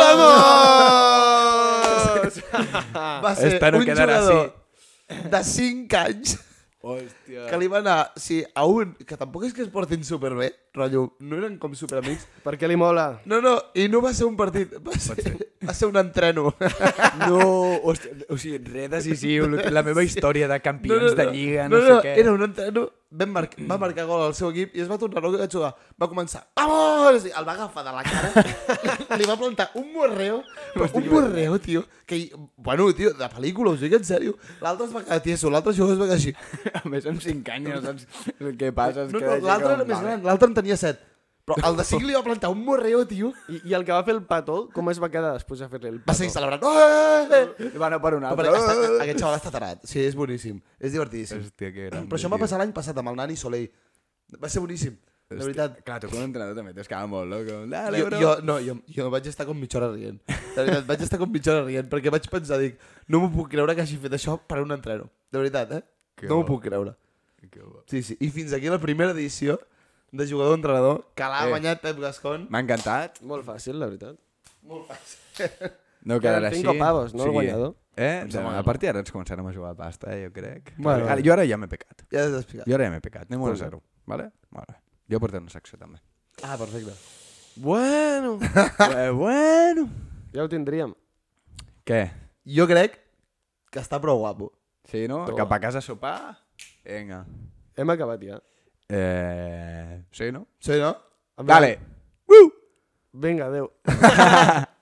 S1: Oh,
S2: Vamos!
S1: Va ser
S2: Esta no
S1: un
S2: quedarà
S1: jugador de 5 anys
S2: Hòstia.
S1: que li va anar, sí, a un, que tampoc és que es portin superbé, rotllo, no eren com superamics.
S3: Per què li mola?
S1: No, no, i no va ser un partit, va ser, va ser un entreno.
S2: No, hòstia, o sigui, res decisiu. La meva història de campions
S1: no,
S2: de Lliga, no, sé què.
S1: Era un entreno, vam mar va marcar gol al seu equip i es va tornar loco i va jugar. Va començar, vamos! I el va agafar de la cara, [laughs] li va plantar un morreo, però un morreo, tio, que, hi- bueno, tio, de pel·lícula, us dic en sèrio. L'altre es va quedar tieso, l'altre jugador es va quedar així.
S2: A més, amb 5 anys no saps què passa. Ah, es
S1: No,
S2: queda
S1: no,
S2: així
S1: l'altre
S2: com,
S1: era més
S2: vale.
S1: gran, l'altre en tenia set. Però el de 5 li va plantar un morreo, tio,
S3: I, I el que va fer el petó, com es va quedar després de fer-li el
S1: va
S3: petó?
S1: seguir celebrant. Oh!
S2: I va anar per un
S1: No,
S2: altre.
S1: perquè està, aquest xaval està tarat. Sí, és boníssim. És divertidíssim.
S2: Hòstia, que gran.
S1: Però això m'ha passat l'any passat amb el Nani Soleil. Va ser boníssim. De veritat.
S2: Clar, tu com a entrenador també t'has quedat molt loco. Dale,
S1: Jo,
S2: bro.
S1: jo, no, jo, jo vaig estar com mitja hora rient. De veritat, vaig estar com mitja hora rient perquè vaig pensar, dic, no m'ho puc creure que hagi fet això per un entreno. De veritat, eh?
S2: Que
S1: no m'ho
S2: bo.
S1: puc creure.
S2: Que bo.
S1: Sí, sí. I fins aquí la primera edició de jugador-entrenador que l'ha
S2: Eh.
S1: guanyat Pep Gascon.
S2: M'ha encantat.
S3: Molt fàcil, la veritat.
S1: Molt fàcil.
S2: No quedarà així.
S3: Cinco pavos, no, el guanyador?
S2: Eh?
S1: Em sembla
S2: A
S1: que
S2: partir d'ara ens començarem a jugar a pasta, eh, jo crec.
S1: Bueno.
S2: Ara, jo ara ja m'he pecat.
S1: ja has explicat.
S2: Jo ara ja m'he pecat. Anem a un a zero, vale? Vale. Jo portaré una secció també.
S1: Ah, perfecte.
S2: [laughs]
S3: Bueno,
S2: eh, bueno.
S3: ja ho tindríem.
S2: Què?
S1: Jo crec que està prou guapo.
S2: Sí, no?
S3: Toma.
S2: Cap a casa a sopar? Vinga.
S3: Hem acabat ja.
S2: Eh... Sí, no?
S1: Sí, no?
S3: Em
S2: Vale.
S3: Vinga, adeu.